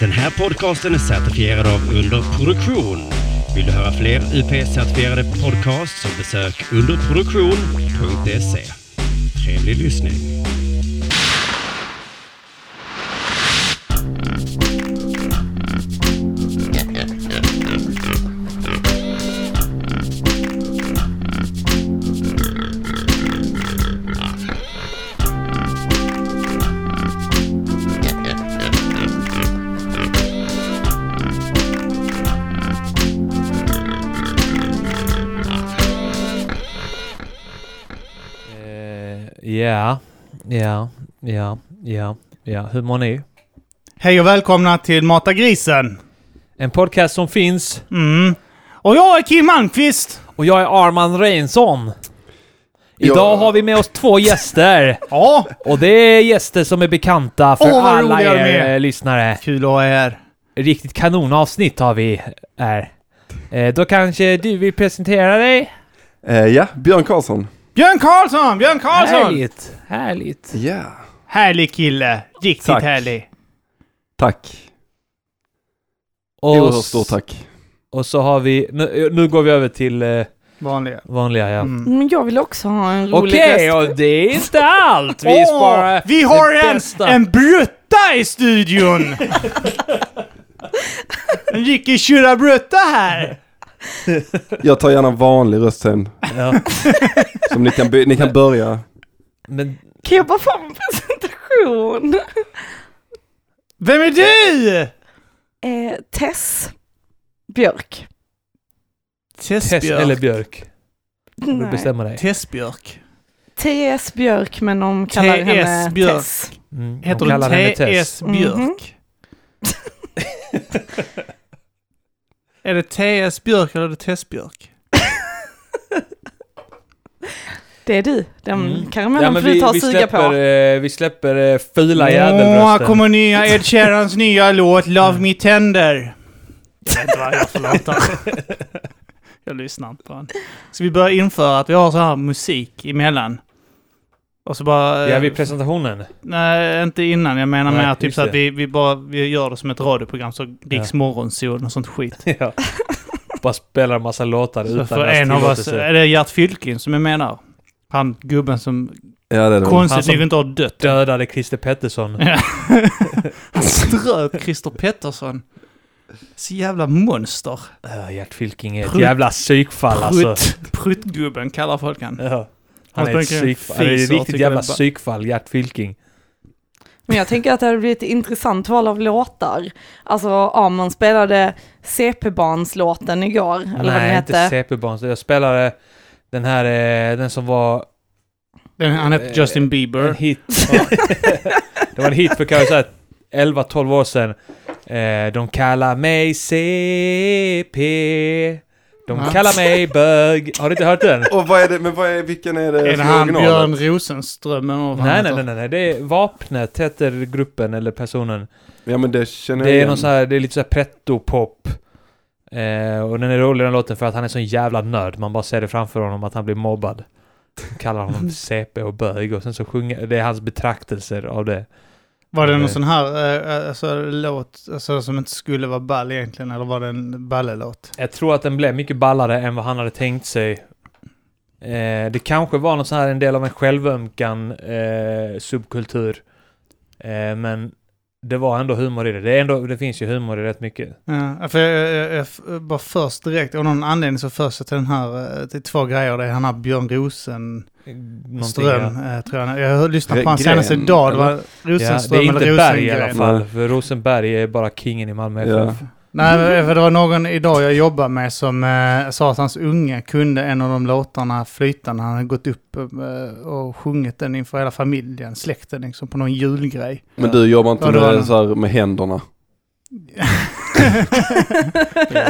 Den här podcasten är certifierad av Underproduktion. Vill du höra fler UP-certifierade podcasts så besök underproduktion.se. Trevlig lyssning. Eh, Ja, ja, ja, ja, ja. Hur mår ni? Hej och välkomna till Mata grisen. En podcast som finns. Mm. Och jag är Kim Malmqvist. Och jag är Arman Reinsson. Idag Ja. har vi med oss två gäster. Ja, Och det är gäster som är bekanta för Åh, vad alla roliga de er är. eh, lyssnare. kul att ha er här. Riktigt kanonavsnitt har vi här. Eh, Då kanske du vill presentera dig? Eh, ja, Björn Karlsson. Björn Karlsson! Björn Karlsson! Härlig, Härligt, härligt. Ja. kille. Riktigt Tack. härlig. Tack. Och, Oerhört stort tack. och så har vi... Nu, nu går vi över till eh, Vanlig. vanliga, ja. Mm. Men jag vill också ha en rolig Okej, röst. och det är inte allt! Vi Åh, sparar vi har en, en brutta i studion! en riktig tjurra brutta här. Jag tar gärna vanlig röst sen. Ja. Som ni kan, by- ni kan börja. Men Kan jag bara få en presentation? Vem är du? Eh, Tess Björk. Tess Tess eller Björk? Du Nej. bestämmer dig. Tess Björk. T.S. Björk, men de kallar T.S. henne Björk. Tess. Mm. Heter de kallar henne du Tess. Mm-hmm. T.S. Björk? är det T.S. Björk eller är det Tess Björk? Det är du. Den Mm. karamellen får du ta och suga släpper, på. eh, vi släpper eh, fula Åh, jävelrösten. kommer nya Ed Sheerans nya låt Love Me Tender. Jag vet inte vad jag förlåter. Jag lyssnar inte på den. Så vi börjar införa att vi har så här musik emellan. Och så bara... eh, Ja, vid presentationen. Nej, inte innan. Jag menar Nej, mer typ just så att det. vi, vi bara vi gör det som ett radioprogram, så Riks Ja. morgonsol och sånt skit. ja. Bara spelar en massa låtar Så utan för deras en av oss, tillåtelse. är det Gert Fylking som jag menar? Han gubben som Ja, det är det. Han konstigt som- nog inte har dött. Dödade Christer Pettersson. Han ströp Christer Pettersson. Så jävla monster. Uh, Gert Fylking är ett Prutt. jävla psykfall alltså. Prutt, pruttgubben kallar folk han. Ja. Han Han är ett tänker en psykfall. Han är ett fis och riktigt tycker jävla det är ba- psykfall, Gert Fylking. Men jag tänker att det hade blivit ett intressant val av låtar. Alltså, Arman spelade CP-barnslåten igår, eller vad den Nej, inte hette. CP-barn. Så Jag spelade den här, eh, den som var Den, han Eh, hette Justin en Bieber. hit. det var en hit för kanske så här 11-12 år sedan. Eh, de kallar mig CP. De Ja. kallar mig bög. Har du inte hört den? Och vad är det, men vad är, vilken är det Är det som han originalet? Björn Rosenström eller vad han Nej, nej, heter? nej, nej, nej. Det är Vapnet heter gruppen eller personen. Ja, men det känner jag Det är igen. någon sån här, det är lite så här pretto-pop. Eh, och den är rolig den låten för att han är sån jävla nörd. Man bara ser det framför honom att han blir mobbad. De kallar honom CP och bög och sen så sjunger, det är hans betraktelser av det. Var det någon Nej. sån här eh, alltså, låt alltså, som inte skulle vara ball egentligen, eller var det en ballelåt? Jag tror att den blev mycket ballare än vad han hade tänkt sig. Eh, det kanske var någon sån här, en del av en självömkan eh, subkultur. Eh, men det var ändå humor i det. Det, är ändå, det finns ju humor i rätt mycket. Ja, för jag, jag, jag, jag bara först direkt, av någon anledning så först till den här, eh, till två grejer, det är han här Björn Rosenström, Någonting, ja. eh, tror jag. Jag lyssnade på Gren, han senast idag, det var Ja, det är Rosenström inte eller Berg i Rosengren. alla fall, för Rosenberg är bara kingen i Malmö FF. Ja. Nej, men eh, för det var någon idag jag jobbar med som eh, sa att hans unge kunde en av de låtarna flytande. Han hade gått upp eh, och sjungit den inför hela familjen, släkten liksom, på någon julgrej. Men du jobbar inte Ja, det var det. med, så här, med händerna?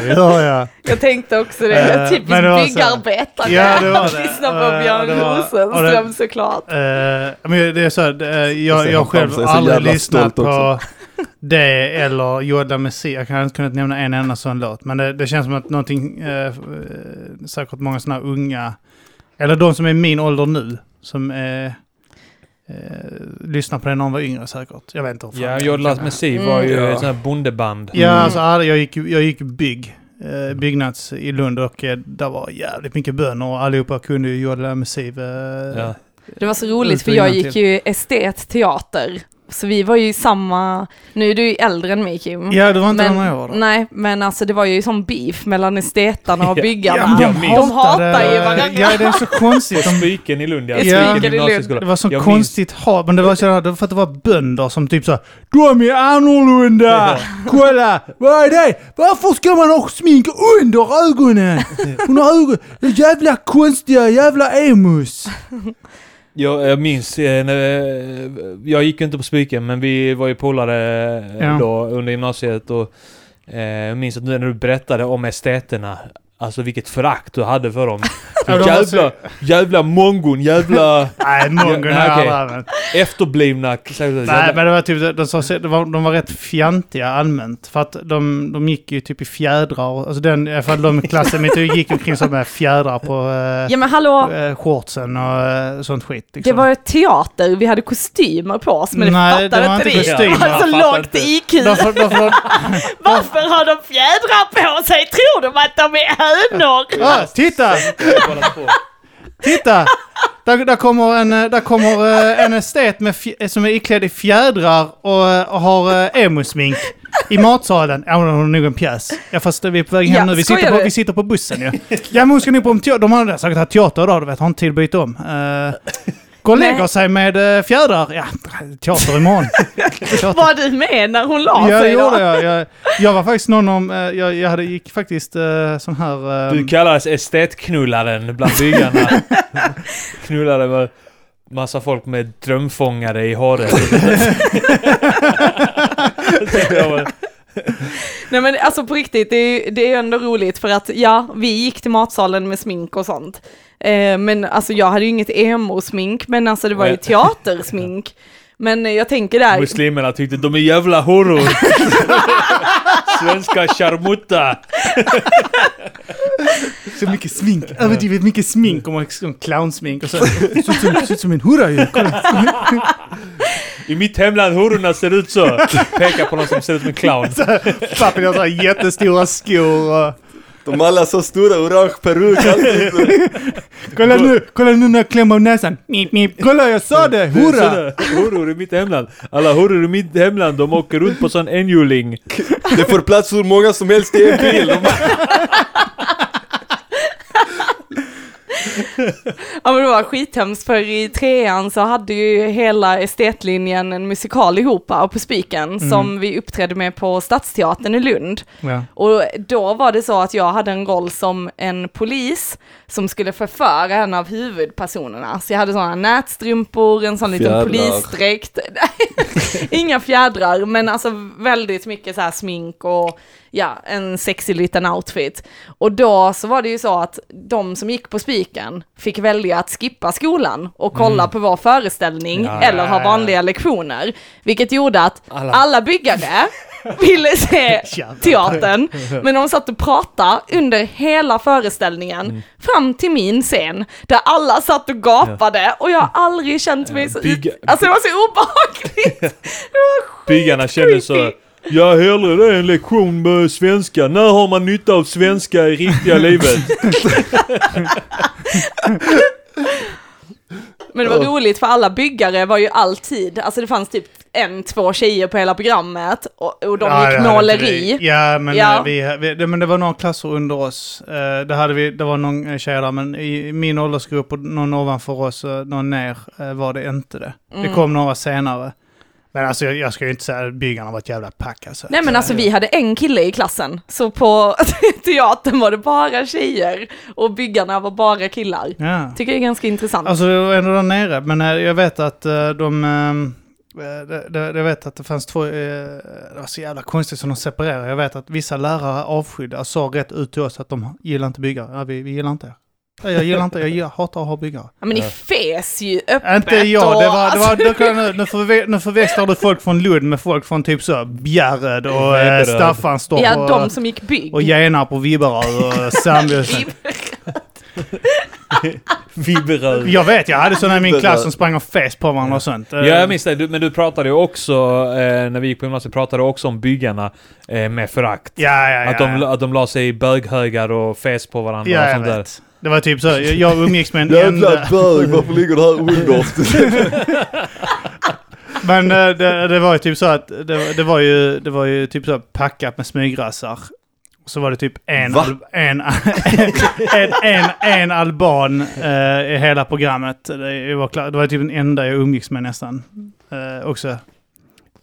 Ja, ja. Jag tänkte också det. Eh, Typiskt men det var så- byggarbetare. Ja, det var Att det. Lyssna på Eh, Björn det var- och det- Rosenström såklart. Eh, men det är så här, eh, Jag jag, ser jag han själv framför sig, har så aldrig jävla lyssnat stolt på det eller Yoda Messi. Jag kan inte kunnat nämna en enda sån låt. Men det, det känns som att någonting, eh, säkert många sådana här unga, eller de som är min ålder nu, som är eh, lyssnade på det när hon var yngre säkert. Jag vet inte hur fan Ja, jag Jodlas känner. med Siv var ju Mm. ett sånt här bondeband. Ja, Mm. alltså, alla- jag gick, jag gick bygg, eh, Mm. byggnads i Lund och eh, där var jävligt mycket bönder och allihopa kunde ju jodla med Siv. Eh, Ja. Det var så roligt Ut för och jag innantill. gick ju estetteater. Så vi var ju i samma, nu är du ju äldre än mig Kim. ja, det var inte Men- när jag var där. Nej, men alltså det var ju som beef mellan estetarna och Ja. byggarna. Ja, de men jag hatar ju hatade- varandra. Ja, det är så konstigt. På De, Spiken i Lund, ja. I Spiken Spiken i Lund. gymnasieskola. det var så Jag minns- konstigt hat, men det var så här, det var för att det var bönder som typ så De är annorlunda! Kolla! Vad är det? Varför ska man ha smink under ögonen? Under ögonen? Jävla konstiga jävla emos! Jag, jag minns, eh, när- jag gick ju inte på Spiken men vi var ju polare eh, Ja. då under gymnasiet och eh, jag minns att nu när du berättade om esteterna, alltså vilket förakt du hade för dem. Ja, de var så- jävla, jävla mongon, jävla Nej, mongon Ja, nej, är okej. alla, men- efterblivna. så- Nej, jävla- men det var typ, de, sa, de, var, de var rätt fjantiga allmänt. För att de, de gick ju typ i fjädrar. och- Alltså den, i alla fall de i klassen mitt gick omkring som med fjädrar på eh, Ja men hallå, eh, shortsen och eh, sånt skit. det Liksom. var ju teater, vi hade kostymer på oss men Nej, det det var fattade inte inte vi. kostymer. Det var Jag så fattar lågt inte. IQ. Därför, därför, Varför har de fjädrar på sig? Tror de att de är hönor? ah, titta! Titta! Där, där kommer, en, eh, där kommer eh, en estet med fj- eh, som är iklädd i fjädrar och, eh, och har eh, emo-smink i matsalen. Ja, hon har nog en pjäs. Ja, fast vi är på väg hem Ja, nu. Vi skojar sitter, på, du? vi sitter på bussen ju. Ja. men hon ska nog på en teater. De har säkert haft teater idag, du vet. Har inte tid att byta om. Eh, Gå och lägger Nej. sig med eh, fjädrar. Ja, teater imorgon. Teater. Var du med när hon la Ja, det sig då? gjorde jag. jag. Jag var faktiskt någon om... eh, Jag, jag hade, gick faktiskt eh, sån här... eh, Du kallades estetknullaren bland byggarna. Knullade med massa folk med drömfångare i håret. Jag var- Nej men alltså på riktigt, det är, ju- det är ju ändå roligt för att ja, vi gick till matsalen med smink och sånt. Eh, men alltså jag hade ju inget emo-smink, men alltså det var ju Nej. teatersmink. Men eh, jag tänker där, Muslimerna tyckte de är jävla horor. Svenska charmutta. Så mycket smink, överdrivet mycket smink och man liksom clownsmink och så. Ser ut som- ser ut som en hurra ju. Kolla. I mitt hemland hororna ser ut så. Pekar på någon som ser ut som en clown. Pappen har så här jättestora skor och... De alla så stora, orange peruk, alltid. Kolla nu, kolla nu när jag klämmer av näsan. Mip, mip. Kolla jag sa det, hurra! Sådana Horor i mitt hemland. Alla horor i mitt hemland, de åker runt på sån enhjuling. Det får plats hur många som helst i en bil. De ja men det var skithemskt för i trean så hade ju hela estetlinjen en musikal ihop och på Spiken som vi uppträdde med på Stadsteatern i Lund. Ja. Och då var det så att jag hade en roll som en polis som skulle förföra en av huvudpersonerna. Så jag hade sådana nätstrumpor, en sån liten Fjädrar. polisdräkt. Nej, Inga fjädrar, men alltså väldigt mycket så här smink och ja, en sexig liten outfit. Och då så var det ju så att de som gick på spiken fick välja att skippa skolan och kolla på vår föreställning Ja, eller ja, ha ja. vanliga lektioner. Vilket gjorde att Alla. alla byggare ville se Jävlar. teatern. Men de satt och pratade under hela föreställningen Mm. fram till min scen där alla satt och gapade och jag har aldrig känt mig så... Bygga- ut- Alltså det var så obehagligt. det var skit Byggarna kände så. creepy. Jag hellre det än lektion med svenska. När har man nytta av svenska i riktiga livet? Men det var roligt för alla byggare var ju alltid, alltså det fanns typ en, två tjejer på hela programmet och, och de Ja, gick det hade inte måleri. vi. Ja, men, Ja. eh, Vi, vi, det, men det var några klasser under oss. Eh, det, hade vi, det var någon eh, tjej där, men i min åldersgrupp och någon ovanför oss och någon ner eh, var det inte det. Mm. Det kom några senare. Men alltså jag, jag ska ju inte säga att byggarna var ett jävla pack alltså. Nej men alltså vi hade en kille i klassen, så på teatern var det bara tjejer och byggarna var bara killar. Ja. Tycker det är ganska intressant. Alltså det var ändå där nere, men eh, jag vet att eh, de... eh, eh, det- det- Jag vet att det fanns två, eh, det var så jävla konstigt som de separerade. Jag vet att vissa lärare avskydde, sa rätt ut till oss att de gillar inte byggare. Ja, vi, vi gillar inte er. Nej, Jag gillar inte, jag gillar, hatar att ha byggare. Ja, men ni fes ju öppet Inte jag, och, det var, det var, alltså, nu, kan jag- nu, nu, förve, nu förväxlar du folk från Lund med folk från typ så Bjärred och eh, Veberöd. Staffanstorp Ja, de och, som gick bygg. och Genarp och Vibberöd och Sandviken. fiberrör. Jag vet, jag hade sådana i min Det klass där. som sprang och fes på varandra och sånt. Eh, Ja, jag minns det. Du, men du pratade ju också, eh, när vi gick på gymnasiet, pratade du också om byggarna eh, med förakt. Ja, ja, ja. Att, de, att de la sig i böghögar och fes på varandra ja, och jag sånt där. vet. Det var typ så, jag, jag umgicks med en enda... Jävla bög, varför ligger det här under? Men eh, det, det var ju typ så att det, det, var, ju, det var ju typ så här packat med smygrassar. Och så var det typ en, Va? al- en, en, en, en alban eh, i hela programmet. Det var, klar, det var typ den enda jag umgicks med nästan. Eh, också.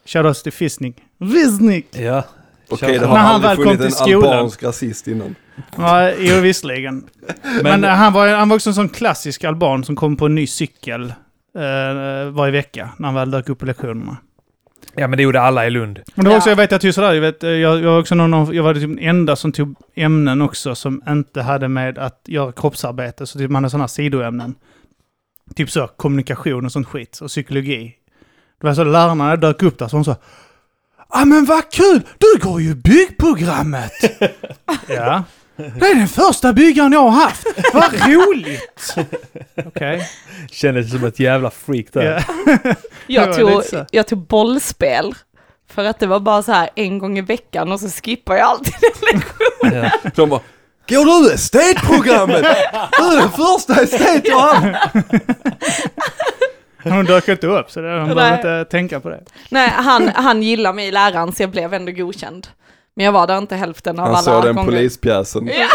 Shoutouts till Fisnik. Visnik! Ja. Okej, det Kör. har När han aldrig väl kom funnits till en skolan. albansk rasist innan. Ja, jo visserligen. Men, eh, han, var, han var också en sån klassisk alban som kom på en ny cykel eh, varje vecka när han väl dök upp på lektionerna. ja, men det gjorde alla i Lund. Men det var också, Ja. jag vet att just sådär, jag, vet, eh, jag, jag var också någon av, jag var typ den enda som tog ämnen också som inte hade med att göra kroppsarbete, så typ man hade sådana sidoämnen. Typ så, kommunikation och sånt skit, och psykologi. Det var så lärarna dök upp där, så de sa Ja men vad kul! Du går ju byggprogrammet! ja. Det är den första byggaren jag har haft! Vad roligt! Okej. Kändes som ett jävla freak där. Ja. Det Jag var tog, lite så. jag tog bollspel. För att det var bara så här en gång i veckan och så skippar jag alltid den lektionen. Ja. De bara Går du estetprogrammet? Du är den första estet jag har haft." Hon dök inte upp, så det- de behöver inte tänka på det. Nej, han, han gillar mig, läraren, så jag blev ändå godkänd. Men jag var där inte hälften av Han alla såg den gånger. polispjäsen. Ja.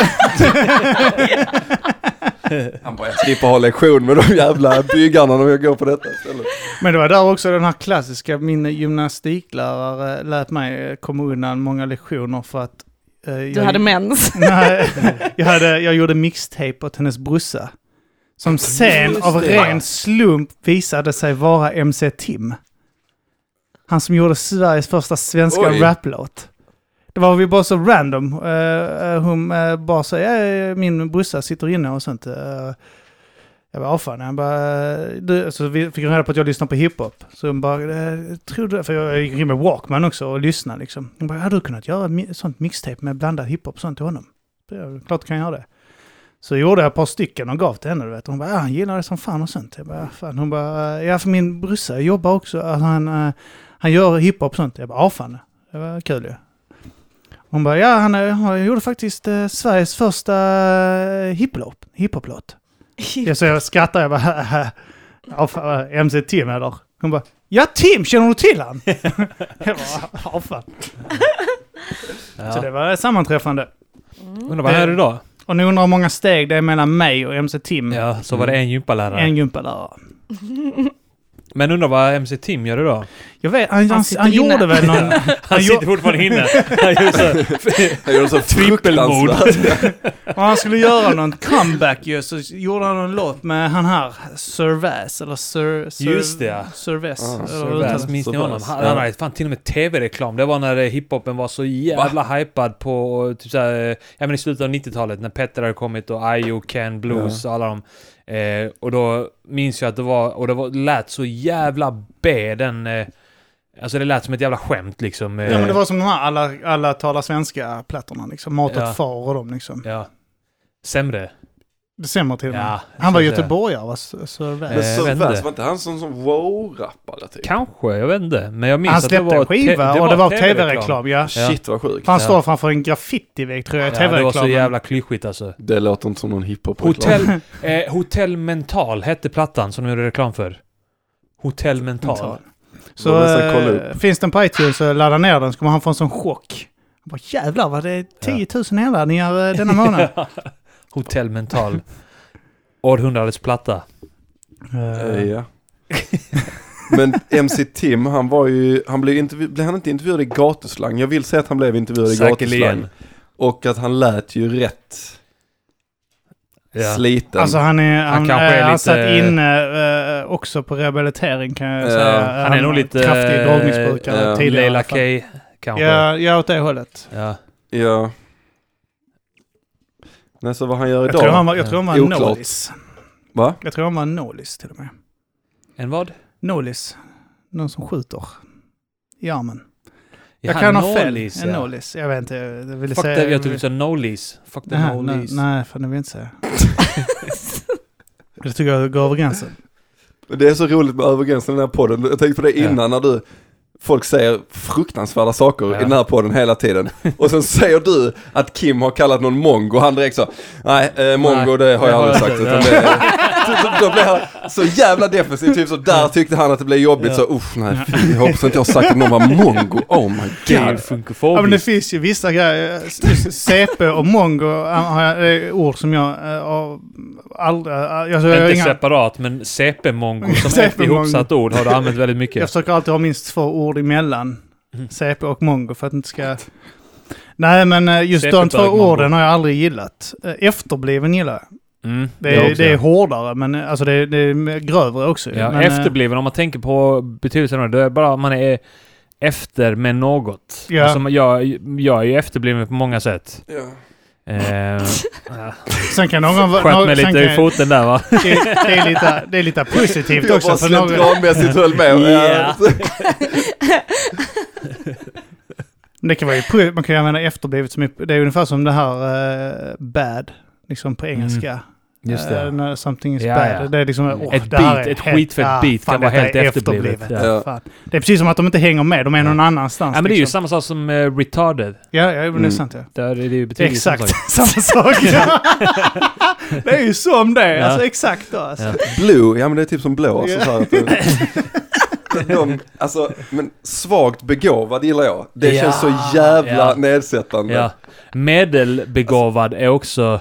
Han bara, jag slipper ha lektion med de jävla byggarna om jag går på detta istället. Men det var där också den här klassiska, min gymnastiklärare lät mig komma undan många lektioner för att... eh, Du jag, hade mens. Nej, jag, hade, jag gjorde mixtape åt hennes brorsa. Som sen Just av det. ren slump visade sig vara MC Tim. Han som gjorde Sveriges första svenska Oj. raplåt. Det var vi bara så random. eh, eh, hon eh, bara så, "Eh, min brorsa sitter inne och sånt. eh." jag bara, "Ah, fan. Han bara, eh, du, så vi fick hon reda på att jag lyssnar på hiphop. Så hon bara, "Eh, tror du, för jag gick in med Walkman också och lyssnade liksom. Hon bara, hade du kunnat göra mi- sånt mixtape med blandad hiphop och sånt till honom? Ja, klart kan jag göra det. Så gjorde jag ett par stycken och gav till henne. Du vet. Hon bara, ah, han gillar det som fan och sånt. Jag bara, "Ah, fan. Hon bara, ja för min brorsa jobbar också. att Han, eh, han gör hiphop och sånt. Jag bara, ah fan. Det var kul ju. Hon bara, ja han, eh, han gjorde faktiskt eh, Sveriges första eh, hiphop- hiphop-låt. Ja, så jag skrattar, jag bara, ja fan, MC eh, Tim eller? Hon bara, ja Tim, känner du till han? jag bara, ja fan. Så Ja. det var ett sammanträffande. Undrar vad han gör idag? Och ni undrar hur många steg det är mellan mig och MC Tim. Ja, så var det en gympalärare. Mm. En gympalärare. Men undrar vad MC Tim gör idag? Jag vet, han, han, sitter han inne. gjorde väl någon... Han sitter fortfarande inne. Han gör så- Jag gjorde så Trippelmord. fruktansvärt. Om han skulle göra någon comeback ju, så gjorde han en låt med han här, Sir Vass, eller Sir... Sir Just det, ja. Sir Vass. Ah, eller Sir vad det Väl, heter. Minns ni Så honom? pass, Han ja. han hade fan till och med tv-reklam. Det var när eh, hiphopen var så jävla hypad på typ såhär, ja men i slutet av 90-talet när Petter hade kommit och IO, Ken, Blues och alla de. Eh, och då minns jag att det var, och det var, lät så jävla B den, eh, alltså det lät som ett jävla skämt liksom. Eh, Ja, men det var som de här alla, alla talar svenska-plattorna liksom. Mat åt Ja. far och dem liksom. eh, ja. Sämre. Det stämmer till och med. Ja, han var jag ska göteborgare, va? Sir Sir Vass. Men Eh, jag vet Sir inte. Vass, var inte han sån som wow-rappare typ? Kanske, jag vet inte. Men jag minns Han att det släppte var... en skiva te- och det var tv-reklam, ja. Shit vad sjukt. För han Ja. står framför en graffitivägg tror jag, i Ja, det var så tv-reklamen. jävla klyschigt alltså. Det låter inte som någon hiphop-reklam. Hotell, eh, Hotell Mental hette plattan som de gjorde reklam för. Hotell Mental. Så Borde nästan kolla eh, finns den på iTunes så ladda ner den så kommer han få en sån chock. Han bara jävlar vad det är 10 000 nedladdningar eh, denna månad. Hotell Mental. Århundradets platta. Eh, Ja. Men MC Tim, han var ju, han blev, intervju- blev han inte intervjuad i gatuslang? Jag vill säga att han blev intervjuad i gatuslang. Säkerligen. Och att han lät ju rätt Ja. sliten. Alltså han är, han, Han han, kanske är är lite- satt inne eh, också på rehabilitering kan jag Ja. säga. Han är nog var lite, Kraftig eh, drogmissbrukare ja. tidigare. i alla Leila fall. K kanske. Ja, ja, åt det hållet. Ja. ja. Nej, så vad han gör Jag idag? tror han var, jag tror han var Oklart. nolis. Va? Jag tror han var nolis till och med. En vad? Nolis. Någon som skjuter. I armen. Ja, Jag kan ha fel. Nollies, En ja. nolis. Jag vet inte. Jag ville Fuck säga... det, jag trodde du sa Nollies. Fuck the Nej, nej, Nollies. nej, fan det vill jag inte säga. Det tycker jag går över gränsen. Men Det är så roligt med övergränsen i den här podden. Jag tänkte på det Ja. innan när du, folk säger fruktansvärda saker Ja. i den här podden hela tiden. Och sen säger du att Kim har kallat någon mongo, han direkt så, nej, eh, mongo Nej, det har det jag har aldrig jag sagt. inte, Utan det, då, då blir han så jävla defensiv, typ så där tyckte han att det blev jobbigt, Ja. så usch nej, fy, jag hoppas inte jag har sagt att någon var mongo, oh my Det är ju god. Ja, men det funkofobiskt. finns ju vissa grejer. S- CP och mongo äh, har jag- det är ord som jag äh, har aldrig... äh, Alltså, jag, har Inte inga, separat, men CP-mongo som ett CP-mongo. ihopsatt ord har du använt väldigt jag mycket. försöker alltid ha minst två ord emellan. Mm. CP och mongo för att inte ska... Nej, men äh, just de CP-bög, två mongo. orden har jag aldrig gillat. Äh, Efterbliven gillar jag. Mm, Det är, jag också, det är ja. hårdare, men äh, alltså det är, det är grövre också. Ja, men, äh, efterbliven, om man tänker på betydelsen av det, det är bara att man är efter med något. Ja. Alltså, jag, jag är ju efterbliven på många sätt. Ja. Eh, Sen kan någon... vara- sköt mig sen lite i kan- foten där va? det, det, är lite, det är lite positivt Jag också. bara För någon, slentrianmässigt höll med. Ja. Det kan vara ju, pro- man kan ju använda efterblivet som, är- det är ungefär som det här eh, bad, liksom på engelska. Eh, när something is Mm. Ja, bad. ja. Mm. Det är liksom, åh, Ett det här beat, är ett helt- skitfett ah, beat kan fan, vara detta helt är efterblivet. efterblivet. Ja. Fan. Det är precis som att de inte hänger med, de är någon annanstans. Ja, men det är ju liksom. samma sak som eh, retarded. Ja, ja, men det är Mm. sant ja. Där är det ju Det är betydligt exakt samma sak. det är ju som det, Ja. alltså exakt då. Alltså. Ja. Blue, ja men det är typ som blå. Alltså, Ja. så här, att det- de, alltså, men svagt begåvad gillar jag. Det Ja. känns så jävla Ja. nedsättande. Ja. Medelbegåvad är också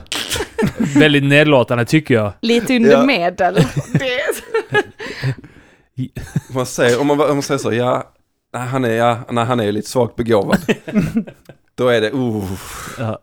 väldigt nedlåtande tycker jag. Lite under Ja. medel. Det är Om, man säger, om, man, om man säger så, ja, nej, han är, ja, nej, han är ju lite svagt begåvad. Då är det, uh, Ja.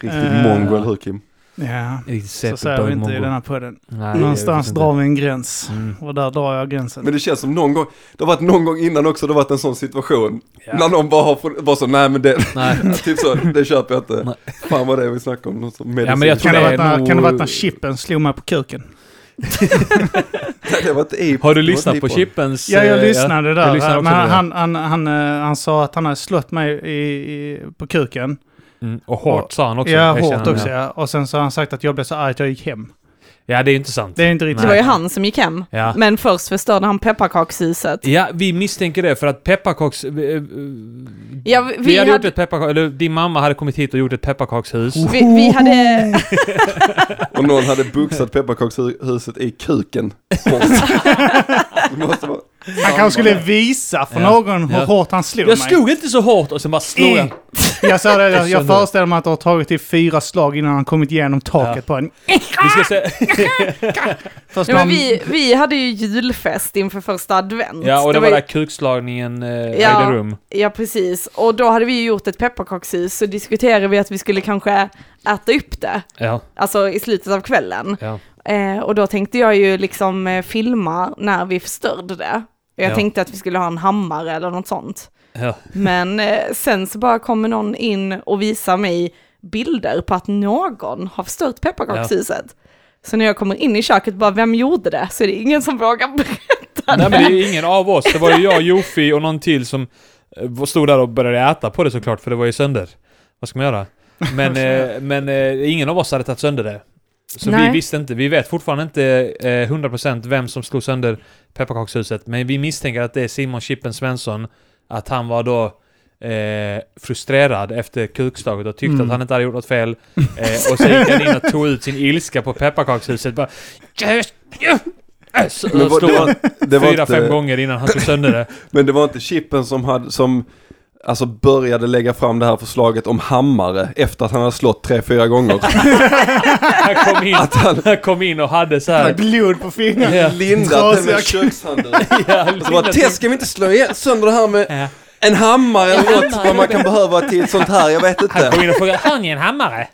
riktigt Eh. mongo, eller hur Kim? Ja. Riktigt Så säger vi inte i den här podden. Nej, Någonstans jag vet drar vi en gräns. inte. Mm. Och där drar jag gränsen. Men det känns som någon gång, det har varit någon gång innan också, det har varit en sån situation. Ja. När någon bara har, fått- bara så, nej men det, Nej. typ så, det köper jag inte. Nej. Fan vad det är vi snackar om, något som medicin. Ja, men jag tror Kan det, det ha är varit när, nog- kan det ha varit när chippen slog mig på kuken? Nej, det var inte i- Har du det var lyssnat inte på i Chippens... Ja, jag eh, lyssnade där. Jag lyssnade också men på det. han, han, han, eh, han sa att han hade slått mig i, i, på kuken. Mm. Och hårt sa han också. ja, erkänner hårt han, också ja. ja. Och sen så har han sagt att jag blev så arg att jag gick hem. Ja, det är ju inte sant. Det är inte riktigt... Det var Nej. ju han som gick hem. Ja. Men först förstörde han pepparkakshuset. Ja, vi misstänker det för att pepparkaks... eh, eh, Ja, vi, Vi hade gjort hade, ett pepparkaks... Eller din mamma hade kommit hit och gjort ett pepparkakshus. vi, vi hade... Och någon hade buxat pepparkakshuset i kuken. Bort. Det måste vara- Han kanske skulle visa för Ja. någon hur Ja. hårt han slog Jag mig. slog inte så hårt och sen bara slog jag. I, jag sa det, jag, kände jag det. föreställer mig att det har tagit till fyra slag innan han kommit igenom taket Ja. på en. Vi ska se. Först när Ja, men han- vi, vi hade ju julfest inför första advent. Ja, och det var ju- där kukslagningen eh, Ja. ägde rum. Ja, precis. Och då hade vi ju gjort ett pepparkakshus, så diskuterade vi att vi skulle kanske äta upp det, Ja, alltså i slutet av kvällen. ja. Eh, och då tänkte jag ju liksom eh, filma när vi förstörde det. Och Jag Ja. tänkte att vi skulle ha en hammare eller något sånt. ja. Men eh, sen så bara kommer någon in och visar mig bilder på att någon har förstört pepparkakshuset. Så när jag kommer in i köket bara, vem gjorde det? Så är det ingen som vågar berätta Nej men det. det är ingen av oss. Det var ju jag, Jofi och någon till som eh, stod där och började äta på det såklart, för det var ju sönder. Vad ska man göra? Men, eh, men eh, ingen av oss hade tagit sönder det. Så Nej. vi visste inte, vi vet fortfarande inte eh, 100% vem som slog sönder pepparkakshuset, men vi misstänker att det är Simon Chippen Svensson, att han var då eh, frustrerad efter kukslaget och tyckte Mm. att han inte hade gjort något fel. Eh, och så gick han in och tog ut sin ilska på pepparkakshuset. Bara, "Yes, yes, yes", och Men vad- slog det var- han det var fyra, inte- fem gånger innan han slog sönder det. Men det var inte Chippen som, hade, som alltså började lägga fram det här förslaget om hammare efter att han hade slått tre, fyra gånger. Han kom in, han kom in och hade så här... Blod på fingrarna. Ja, Lindat den Trasiga- med kökshandeln. ja, Och så bara, Tess ska vi inte slå igen- sönder det här med Ja. en hammare En eller något hammare. vad man kan behöva till ett sånt här, jag vet Han inte. kom in och frågade ”Har ni en hammare?”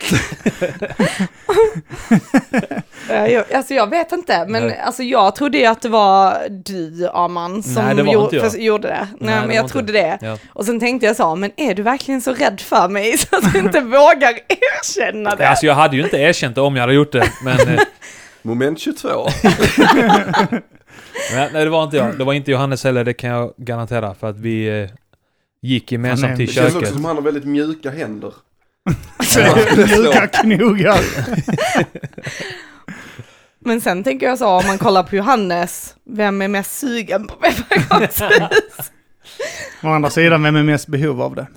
Eh, jag, alltså jag vet inte, men Nej. alltså jag trodde ju att det var du, Aman, som Nej, det var gjorde, inte jag. för- gjorde det. Nej, det men var jag inte trodde det. Ja. Och sen tänkte jag så, men är du verkligen så rädd för mig så att du inte vågar erkänna det? Alltså jag hade ju inte erkänt det om jag hade gjort det, men... eh, Moment 22. Nej, nej, det var inte jag. Det var inte Johannes heller, det kan jag garantera. För att vi eh, gick Han är- gemensamt till Det känns också köket. som han har väldigt mjuka händer. Mjuka knogar. Men sen tänker jag så, om man kollar på Johannes, vem är mest sugen på pepparkakshus? Å andra sidan, vem är mest behov av det?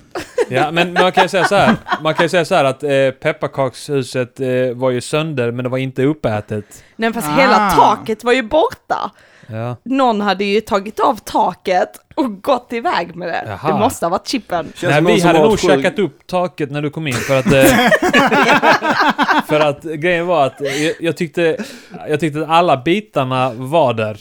Ja, men man kan ju säga så här. Man kan ju säga så här att eh, pepparkakshuset eh, var ju sönder, men det var inte uppätet. Nej fast Ah. hela taket var ju borta. Ja. Någon hade ju tagit av taket och gått iväg med det. Jaha. Det måste ha varit Chippen. Känns Nej, som någon vi som hade har nog ett sjuk- käkat upp taket när du kom in för att... Eh, för att grejen var att eh, jag, jag, tyckte, jag tyckte att alla bitarna var där.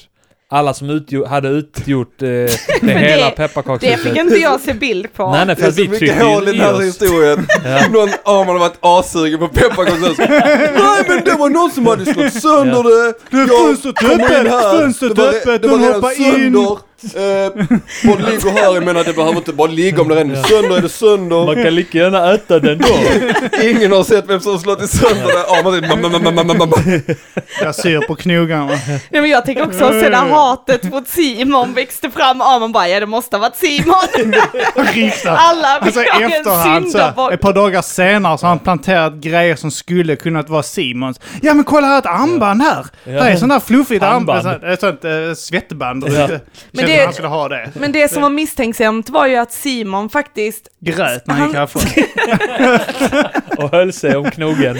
Alla som utgjo- hade utgjort eh, det hela det- Det pekakshuset. fick inte jag se bild på. Nej, nej, Det för är att så vi mycket tryckte hål i i den här oss. historien. Ja. Någon, ah, man har varit assugen på pepparkakshus. Nej men det var någon som hade slått sönder Ja. det. Det är Jag fönstret kom in öppet, här. fönstret Det var re- öppet, Det var någon redan hoppar sönder. Eh, Bara ligger här, jag menar det behöver inte bara ligga om det redan är sönder, är det Man sönder. kan lika gärna äta den då. Ingen har sett vem som har slagit sönder det. Ah, man säger, "Mam, mam, mam, mam, mam, mam." Jag syr på knogarna. Nej men jag tänker också Mm. sen när hatet mot Simon växte fram, ja man bara ja det måste ha varit Simon. Riktat. Alla Alltså i beklagar en efterhand, så här, syndabock. ett par dagar senare så har han planterat grejer som skulle kunnat vara Simons. Ja men kolla här, ett armband här! Ja. Här är sånt där fluffigt Armband. armband. Sånt, ett sånt eh, svettband. Ja. Ja. Känns Men men det- det... han skulle ha det. Men det som var misstänksamt var ju att Simon faktiskt, Grät när han gick Han- härifrån. Och höll sig om knogen.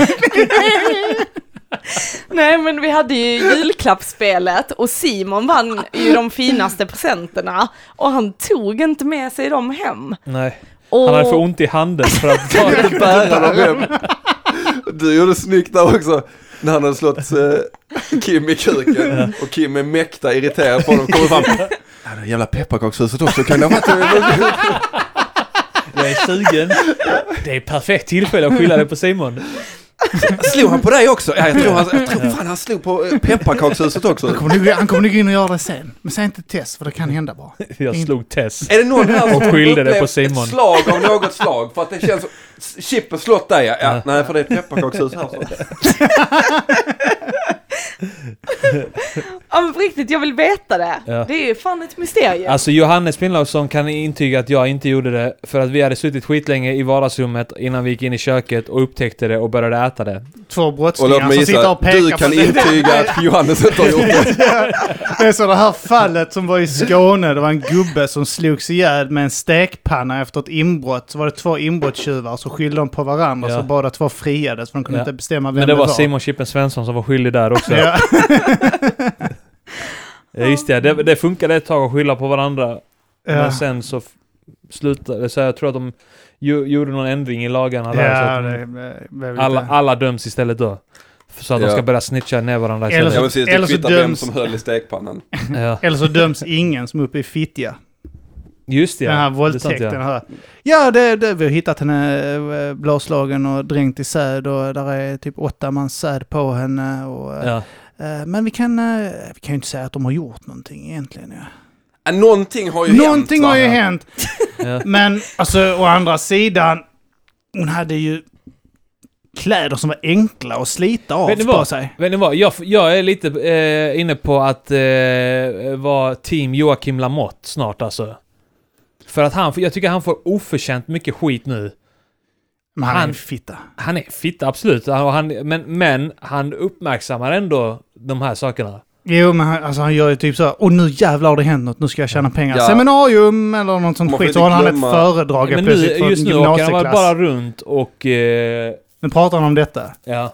nej men vi hade ju julklappsspelet och Simon vann ju de finaste presenterna och han tog inte med sig dem hem. Nej. Och, Han hade för ont i handen för att ta Jag kan bära dem hem. Du gjorde snyggt där också. När han hade slått eh, Kim i kuken och Kim är mäkta irriterad på honom kommer fram. Ja, det jävla pepparkakshuset också, kan det ha varit Jag är sugen. Det är perfekt tillfälle att skylla det på Simon. Slog han på dig också? Ja, jag tror, han, jag tror fan han slog på eh, pepparkakshuset också. Kommer nog- Han kommer nog in och göra det sen. Men säg inte Tess för det kan hända bara. Jag slog Tess. Är det någon här som Och skyllde det på upplevt Simon. ett slag av något slag? För att det känns som... Chip har slått dig ja. ja. Nej, för det är ett pepparkakshus här. Så. ja men på riktigt, jag vill veta det. Ja. Det är ju fan ett mysterium. Alltså Johannes Pinnlausson kan intyga att jag inte gjorde det för att vi hade suttit skitlänge i vardagsrummet innan vi gick in i köket och upptäckte det och började äta det. Två Och låt brottslingar mig som sitter gissa, och pekar du kan på det. intyga att Johannes inte har gjort det. Det är så det här fallet som var i Skåne. Det var en gubbe som slogs ihjäl med en stekpanna efter ett inbrott. Så var det två inbrottstjuvar så skyllde de på varandra Ja. så båda två friades för de kunde Ja. inte bestämma vem Men det var Simon. Simon Chippen Svensson som var skyldig där också. Ja. Ja, Just det, det, det funkade ett tag att skylla på varandra. Ja. Men sen så f- slutade det så jag tror att de ju, gjorde någon ändring i lagarna där. så Ja, att det de, blev lite- alltså alla, alla döms istället då. Så att de Ja. ska börja snitcha ner varandra Eller istället. Ja, precis. Eller Det så kvittar vem döms- som höll i stekpannan. Ja. Eller så döms ingen som är uppe i Fittja. Just det, den här det är sant, våldtäkten. här. Ja, det, det, vi har hittat henne eh, blåslagen och dränkt i säd och där är typ åtta man säd på henne. Och, eh, Ja. eh, Men vi kan, eh, vi kan ju inte säga att de har gjort någonting egentligen. Ja. Ja, Äh, Någonting har ju Någonting hänt. har va? ju hänt. Ja. Men alltså å andra sidan, hon hade ju kläder som var enkla att slita av Vet ni på vad? sig. Vet ni vad? Jag, jag är lite eh, inne på att eh, vara team Joakim Lamotte snart alltså. För att han, jag tycker han får oförtjänt mycket skit nu. Men han, är Han- en fitta. Han är fitta, absolut. Han, och han, men, men han uppmärksammar ändå de här sakerna. Jo, men han, alltså, han gör ju typ så här, åh nu jävlar har det hänt något, nu ska jag tjäna pengar. Ja. Seminarium eller något sånt Man får skit, så håller inte han ett glömma- föredrag Men helt nu, plötsligt för just en nu åker han väl gymnasieklass. bara runt och... Eh, Nu pratar han om detta. ja.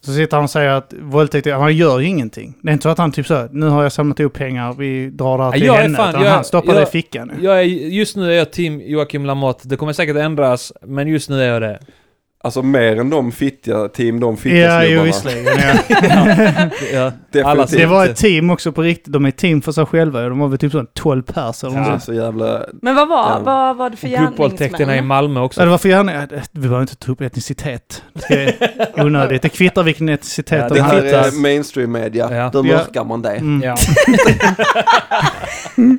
Så sitter han och säger att våldtäkt, är- han gör ju ingenting. Det är inte så att han typ så här, nu har jag samlat ihop pengar, vi drar det här till Jag är henne. fan- utan jag- han stoppar det jag- i fickan. Jag är, just nu är jag team Joakim Lamotte. Det kommer säkert ändras, men just nu är jag det. Alltså mer än de fittiga team, de Ja, fittiga jo snubbarna. visserligen. Ja. Ja. Definitivt. Alla Det var ett team också på riktigt. De är ett team för sig själva. De var väl typ sån 12 pers eller Ja. ja. Så jävla... men vad var, Ja. vad var det för Gruppvåldtäkterna i gärningsmän? Malmö också. Ja, det var för gärna... ja, Vi behöver inte ta upp etnicitet. Det är onödigt. Det kvittar vilken etnicitet Ja, de Det här hittar. är mainstream media. Ja. Då Ja. mörkar man det. Mm. Ja. Behöver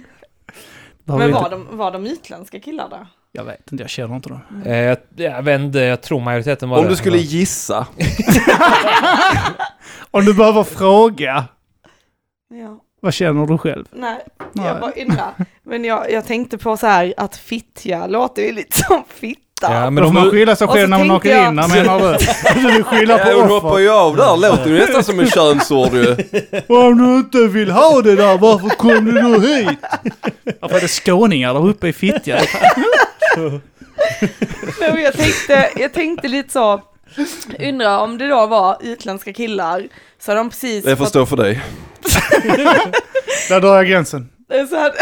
Men vi var inte... de, var de utländska killar där? Jag vet inte, jag känner inte dem. Eh, jag, jag vet inte, jag tror majoriteten var Om det. du skulle gissa. Om du behöver fråga, Ja. vad känner du själv? Nej, Nej. jag bara undrar. Men jag, jag tänkte på så här att fittja låter ju lite som fitta. sluta. Ja, men Då får de, man ut- skylla sig Och så själv när man tänkte åker jag- in, menar du? Du vill skylla på Ja, hon hoppar offret. ju av där, låter ju nästan som en könsord ju. Om du inte vill ha det där, varför kom du då hit? Varför är det skåningar där uppe i Fittja? Nej, men jag, tänkte, jag tänkte lite så, undrar om det då var utländska killar, så hade de precis... Det får fått- stå för dig. Där drar jag gränsen. eh, så, hade,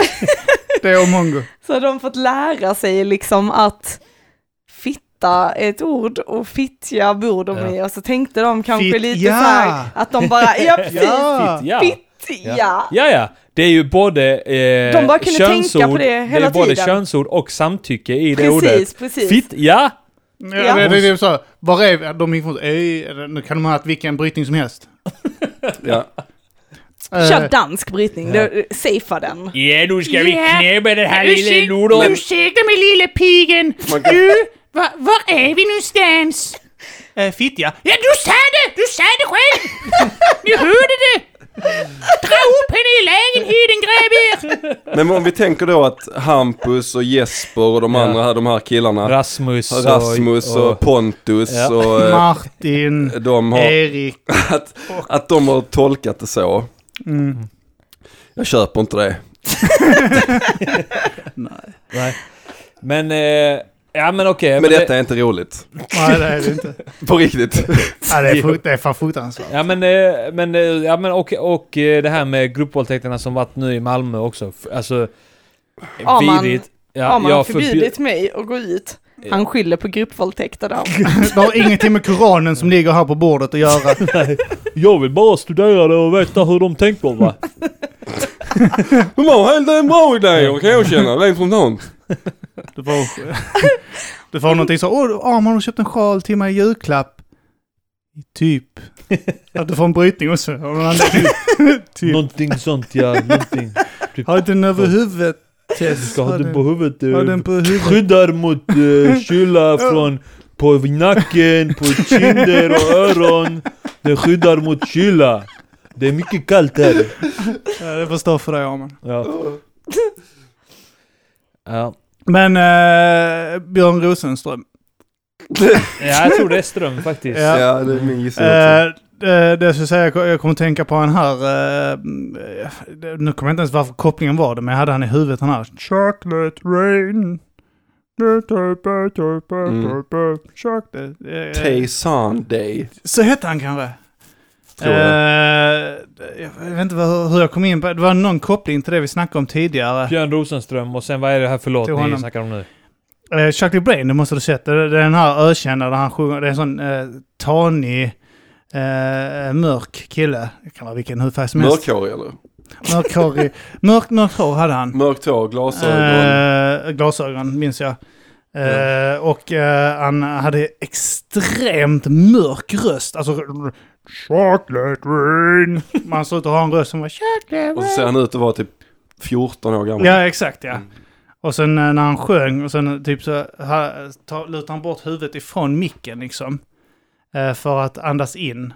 Det är mongo. så hade de fått lära sig liksom att fitta är ett ord och fittja bor de i och så tänkte de kanske Fitt- lite ja. så här att de bara, ja precis, Ja. Ja. fittja. Ja, ja. Det är ju både eh, De bara kunde tänka könsord, på det hela är både tiden. könsord och samtycke i det ordet. Precis, precis. Fitt, ja! Ja, Ja. Det, det, det är så. här, Var är de gick mot ö? Nu kan de ha haft vilken brytning som helst. Ja. Kör dansk brytning, ja. safea den. Ja, nu ska vi Ja. knäppa den här Ursäk- lilla lodon. Ursäkta mig lilla pigen! Man kan- Du, var, var är vi någonstans? Äh, Fittja. Ja, du sa det! Du sa det själv! Ni hörde det! Dra upp henne i lägenheten, gräv er! Men om vi tänker då att Hampus och Jesper och de andra här, de här killarna. Rasmus och... Rasmus och Pontus Ja. och eh, Martin. de har... Erik. Att, att de har tolkat det så. Mm. Jag köper inte det. Nej. Men... Eh, ja, men okej. Men detta är inte roligt. Nej, det är det inte. På riktigt. Ja, det, är frukt, det är fan fruktansvärt. Ja men, eh, men, eh, ja, men och, och eh, det här med gruppvåldtäkterna som varit nu i Malmö också. F- Alltså, Har man- vidrigt. Ja, Har man jag förbjudit mig att gå ut? Han skyller på gruppvåldtäkter där. Det har ingenting med Koranen som ligger här på bordet att göra. Jag vill bara studera det och veta hur de tänker va? De har helt en bra idé, kan jag känna. Rent spontant. Du får, du får någonting så åh Arman har köpt en sjal till mig i julklapp. Typ. Att du får en brytning också. Av någon anledning. typ. någonting sånt ja, någonting. Typ, Har den över huvudet. Tess. ska ha den på huvudet. eh, Har den på huvudet. Skyddar mot eh, kyla från på nacken, på kinder och öron. Det skyddar mot kyla. Det är mycket kallt här. Ja, det förstår för dig Arman. Ja. Ja. Men eh, Björn Rosenström. Ja, jag tror det är ström faktiskt. Ja. Ja, det är min gissning också. Eh, det det jag skulle säga, jag kom- jag kommer att tänka på en här, eh, eh, nu kommer jag inte ens varför kopplingen var det, men jag hade han i huvudet han här. Chocolate rain. Mm. Chocolate. eh, Tay Sunday. Så hette han kanske? Tror jag. Eh, jag vet inte vad- hur jag kom in på det. Det var någon koppling till det vi snackade om tidigare. Björn Rosenström och sen vad är det här för låt Till ni honom. snackar om nu? Eh, Chocolate Brain, det måste du ha sett. Det det är den här ökända där han sjunger. Det är en sån eh, tanig, eh, mörk kille. Det kan vara vilken hudfärg som helst. Mörkhårig eller? Mörk hår, i, mörk, mörkt hår hade han. Mörkt hår, glasögon. Eh, glasögon minns jag. Eh, Och eh, han hade extremt mörk röst. Alltså... r- Chocolate rain. Man såg ut att ha en röst som var chocolate Och så ser han ut att vara typ 14 år gammal. Ja, exakt ja. Och sen eh, när han sjöng och sen typ så här, ta, lutade han bort huvudet ifrån micken liksom. Eh, för att andas in.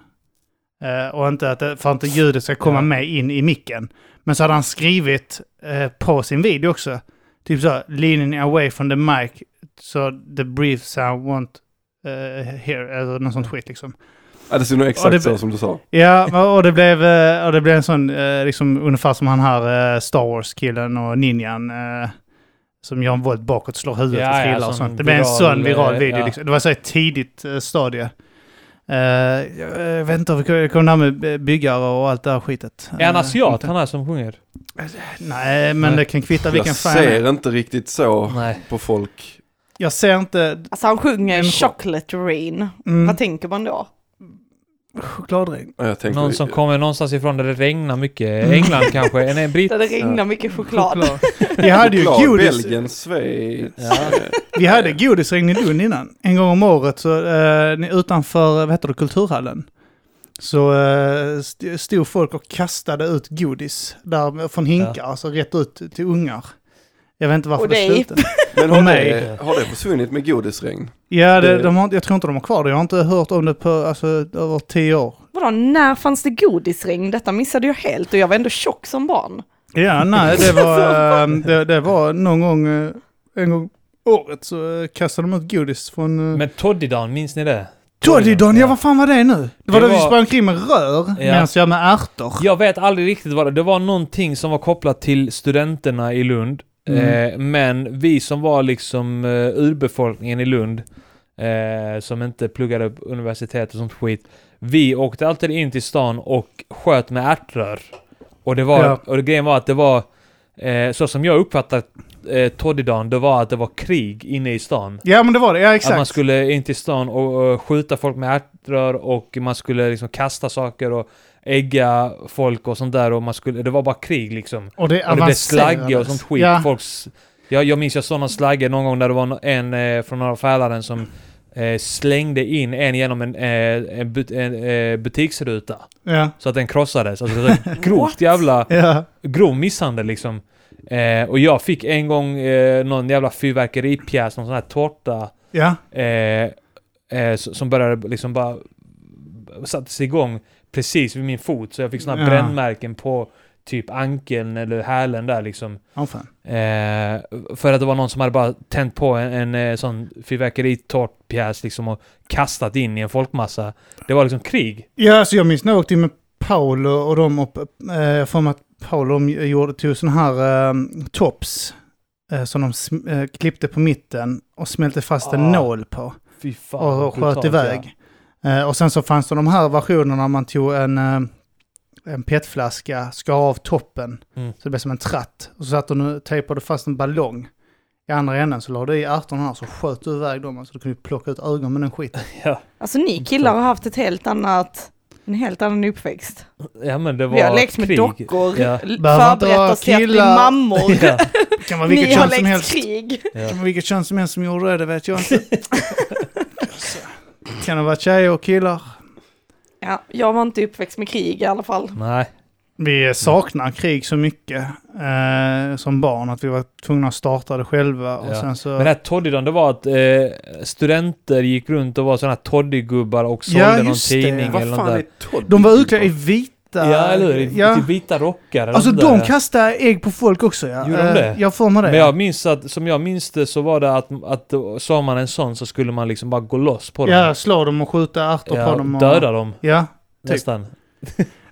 Eh, och inte att, det- för att inte ljudet ska komma med in i micken. Men så hade han skrivit eh, på sin video också. Typ så här, leaning away from the mic so the breath sound won't eh, hear, eller något sånt skit liksom. Ja, det ser nog Ja, exakt det- så som du sa. Ja, och det blev, eh, och det blev en sån, eh, liksom ungefär som han här eh, Star Wars-killen och ninjan. eh, Som John Volt bakåt slår huvudet Ja, och ja, trillar och sån sånt. Det blev en viral, sån viral eh, video. ja. Liksom. Det var så ett tidigt eh, stadie. Eh, jag jag vet inte, hur det kom det här med eh, byggare och allt det här skitet. Är han Eh, asiat inte- han här som sjunger? Nej, men Nej. det kan kvitta vilken Jag färg han är. ser inte riktigt så Nej. på folk. Jag ser inte... Alltså han sjunger Människor. Chocolate Rain. Mm, Vad tänker man då? chokladregn. Ja, Jag tänker, Någon som kommer någonstans ifrån där det regnar mycket. England kanske? Är det en britt? Där det regnar mycket choklad. Choklad. Vi hade ju Choklad, godis. Belgien, Schweiz. Ja. Vi hade godisregn i Lund innan. En gång om året så, eh, ni- utanför eh, vad heter det, Kulturhallen så eh, st- stod folk och kastade ut godis där, från hinkar, alltså rätt ut till ungar. Jag vet inte varför Och det dig. slutade. Men har Nej. det, har det försvunnit med godisregn? Ja, det, Det- de har, jag tror inte de har kvar det. Jag har inte hört om det på alltså, över tio år. Vadå, när fanns det godisregn? Detta missade jag helt och jag var ändå tjock som barn. Ja, nej, det var, eh, det, det var någon gång, eh, en gång året så eh, kastade de ut godis från... eh, Men Toddydan, minns ni det? Toddydan, ja ja. vad fan var det nu? Det var Det då vi var- sprang omkring med rör medan jag med ärtor. Jag vet aldrig riktigt vad det Det var någonting som var kopplat till studenterna i Lund. Mm. Eh, men vi som var liksom eh, urbefolkningen i Lund, eh, som inte pluggade på universitet och sånt skit. Vi åkte alltid in till stan och sköt med ärtrör. Och det var, Ja. och det grejen var att det var, eh, så som jag uppfattade eh, Toddydan, det var att det var krig inne i stan. Ja men det var det, ja Att man exakt. skulle in till stan och, och skjuta folk med ärtrör och man skulle liksom kasta saker och ägga folk och sånt där och man skulle, det var bara krig liksom. Och det Och det blev avancerades. slagge och sånt skit. Ja. Folks, jag, jag minns jag såg någon slagge någon gång där det var no- en eh, från Norra Fälaren som eh, slängde in en genom en, eh, en, but, en eh, butiksruta. Ja. Så att den krossades. Alltså det var grovt jävla Ja. grov misshandel liksom. Eh, och jag fick en gång eh, någon jävla fyrverkeripjäs, någon sån här tårta Ja. eh, eh, s- som började liksom bara sattes igång precis vid min fot så jag fick såna Ja. ja. brännmärken på typ ankeln eller hälen där liksom. Åh, fan. Eh, för att det var någon som hade bara tänt på en, en eh, sån fyrverkeritårtpjäs liksom och kastat in i en folkmassa. Det var liksom krig. Ja, så jag minns när jag åkte in med Paolo och de upp, eh, för mig att Paolo de gjorde, tog sådana här eh, tops eh, som de sm- eh, klippte på mitten och smälte fast en Ah. nål på Fy fan. och brutalt, sköt iväg. Eh, och sen så fanns det de här versionerna när man tog en, eh, en petflaska, skar av toppen, Mm. så det blev som en tratt. Och så satt hon och tejpade fast en ballong i andra änden, så la du i ärtorna här så sköt du iväg dem, så du kunde plocka ut ögon med den skiten. Alltså Mm. ni killar har haft ett helt annat, en helt annan uppväxt. Ja. ja men det var Vi har lekt med krig. dockor, Ja. l- Behöver inte vara förberett oss till att bli killar. mammor. Ja. Det kan vara vilket Ni har kön som lekt helst. krig. Det var vilket kön som helst som gjorde det, det vet jag inte. kan det vara tjejer och killar? Ja, jag var inte uppväxt med krig i alla fall. Nej. Vi saknar krig så mycket eh, som barn att vi var tvungna att starta det själva. Och Ja. sen så... Men det här toddidan, det var att eh, studenter gick runt och var sådana här toddigubbar och sålde Ja, någon just det. tidning Vad eller något fan där. är Todd? de var utklädda i vita... Ja, eller hur? I- Ja. Till vita rockar eller Alltså något där. de kastade ägg på folk också ja. Gjorde de det? Eh, Jag får med det. Men jag minns att, som jag minns det så var det att, att sa man en sån så skulle man liksom bara gå loss på dem. ja, slå dem och skjuta ärtor Ja, på dem. Och... Döda dem, Ja. Typ. nästan.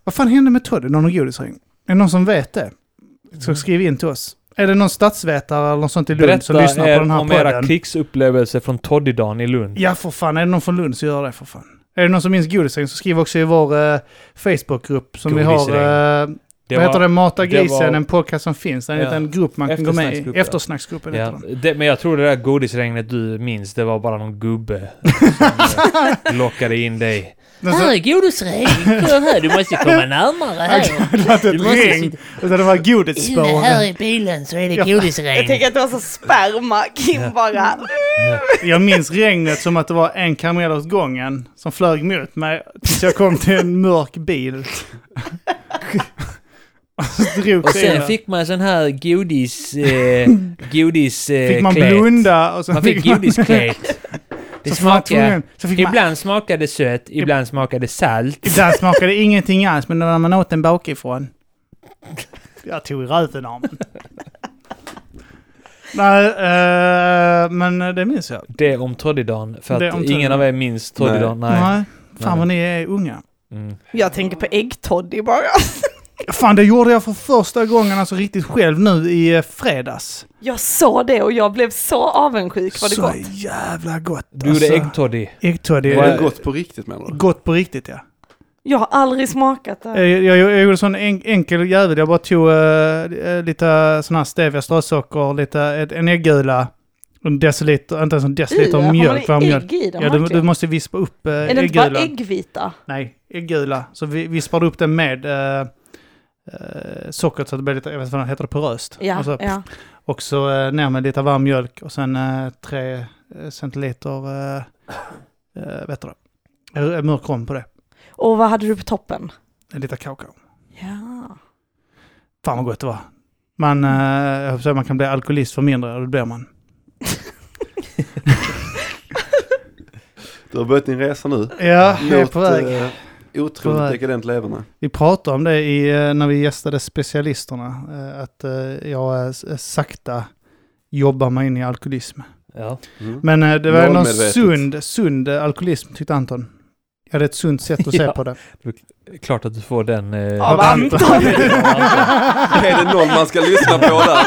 Vad fan hände med Toddy när de godisring? Är det någon som vet det? Mm. Så skriv in till oss. Är det någon statsvetare eller något sånt i Lund som Berätta lyssnar er på den här om podden? era krigsupplevelser från Toddydagen i Lund. Ja, för fan. Är det någon från Lund så gör det, för fan. Är det någon som minns godisring så skriv också i vår eh, Facebookgrupp som vi har. Eh, Det vad heter var- det? Mata det grisen, var- en podcast som finns. Det är en Ja. liten grupp man kan gå med i. Eftersnacksgrupp, ja. Eftersnacksgruppen heter Ja, den. det, men jag tror det där godisregnet du minns, det var bara någon gubbe som eh, lockade in dig. Men så- Här är godisregn. Kom här, du måste komma närmare här. Det var inte Du måste ett regn, utan det var Inne här godisspåren. i bilen så är det godisregn. Jag tänker att det var så sperma, Kim Mm. bara. Jag minns regnet som att det var en kamel åt gången som flög mot mig tills jag kom till en mörk bil. Och så drog Och sen bilen. fick man sån här godis... Eh, godis... Eh, Fick man klet. blunda och så Man fick godisklet. Det så var man smakade... tvungen- så fick man Ibland smakade sött, ibland smakade salt. Ibland smakade det ingenting alls, men när man åt den bakifrån. Jag tog i röven av den. Nej, eh, men det minns jag. Det om Toddydagen, för Det om att Toddydagen. ingen av er minns Toddydagen. Nej. Fan vad ni är unga. Mm. Jag tänker på äggtoddy bara. Fan, det gjorde jag för första gången alltså riktigt själv nu i eh, fredags. Jag sa det och jag blev så avundsjuk vad det Så gott. jävla gott. alltså. Du gjorde äggtoddy. äggtoddy. Var det Äggtoddy. gott på riktigt menar du? Gott på riktigt ja. Jag har aldrig smakat det. Eh, Jag, jag, jag gjorde sån en, enkel jävel. Jag bara tog eh, eh, lite sån här stevia, strösocker, lite, ett, en äggula, en deciliter, inte ens en deciliter I, har mjölk. man Var mjölk. ägg i dem Ja, du, du verkligen? måste vispa upp äh, Är det inte bara äggulan. äggvita? Nej, äggula. Så vi, vispar du upp den med äh, sockret så att det blir lite, jag vet inte vad det heter, det, poröst. Alltså, Ja, och så, ja. och så eh, ner med lite varm mjölk och sen eh, tre eh, centiliter, äh, vet du det, Eh, mörk rom på det. Och vad hade du på toppen? Lite kakao. Ja. Fan vad gott det var. Man, eh, jag höll på att säga, man kan bli alkoholist för mindre, och det blir man. Du har börjat din resa nu. Ja, jag är på väg. eh, På väg. otroligt dekadent leverne. Vi pratade om det i, eh, när vi gästade specialisterna, eh, att eh, jag eh, s- sakta jobbar mig in i alkoholism. Ja. Mm. Men eh, det var ändå en Målmedvetet. sund, sund eh, alkoholism tyckte Anton. Jag hade ett sunt sätt att se Ja. på det. Klart att du får den... Eh, Av Anton. Är det någon man ska lyssna på där?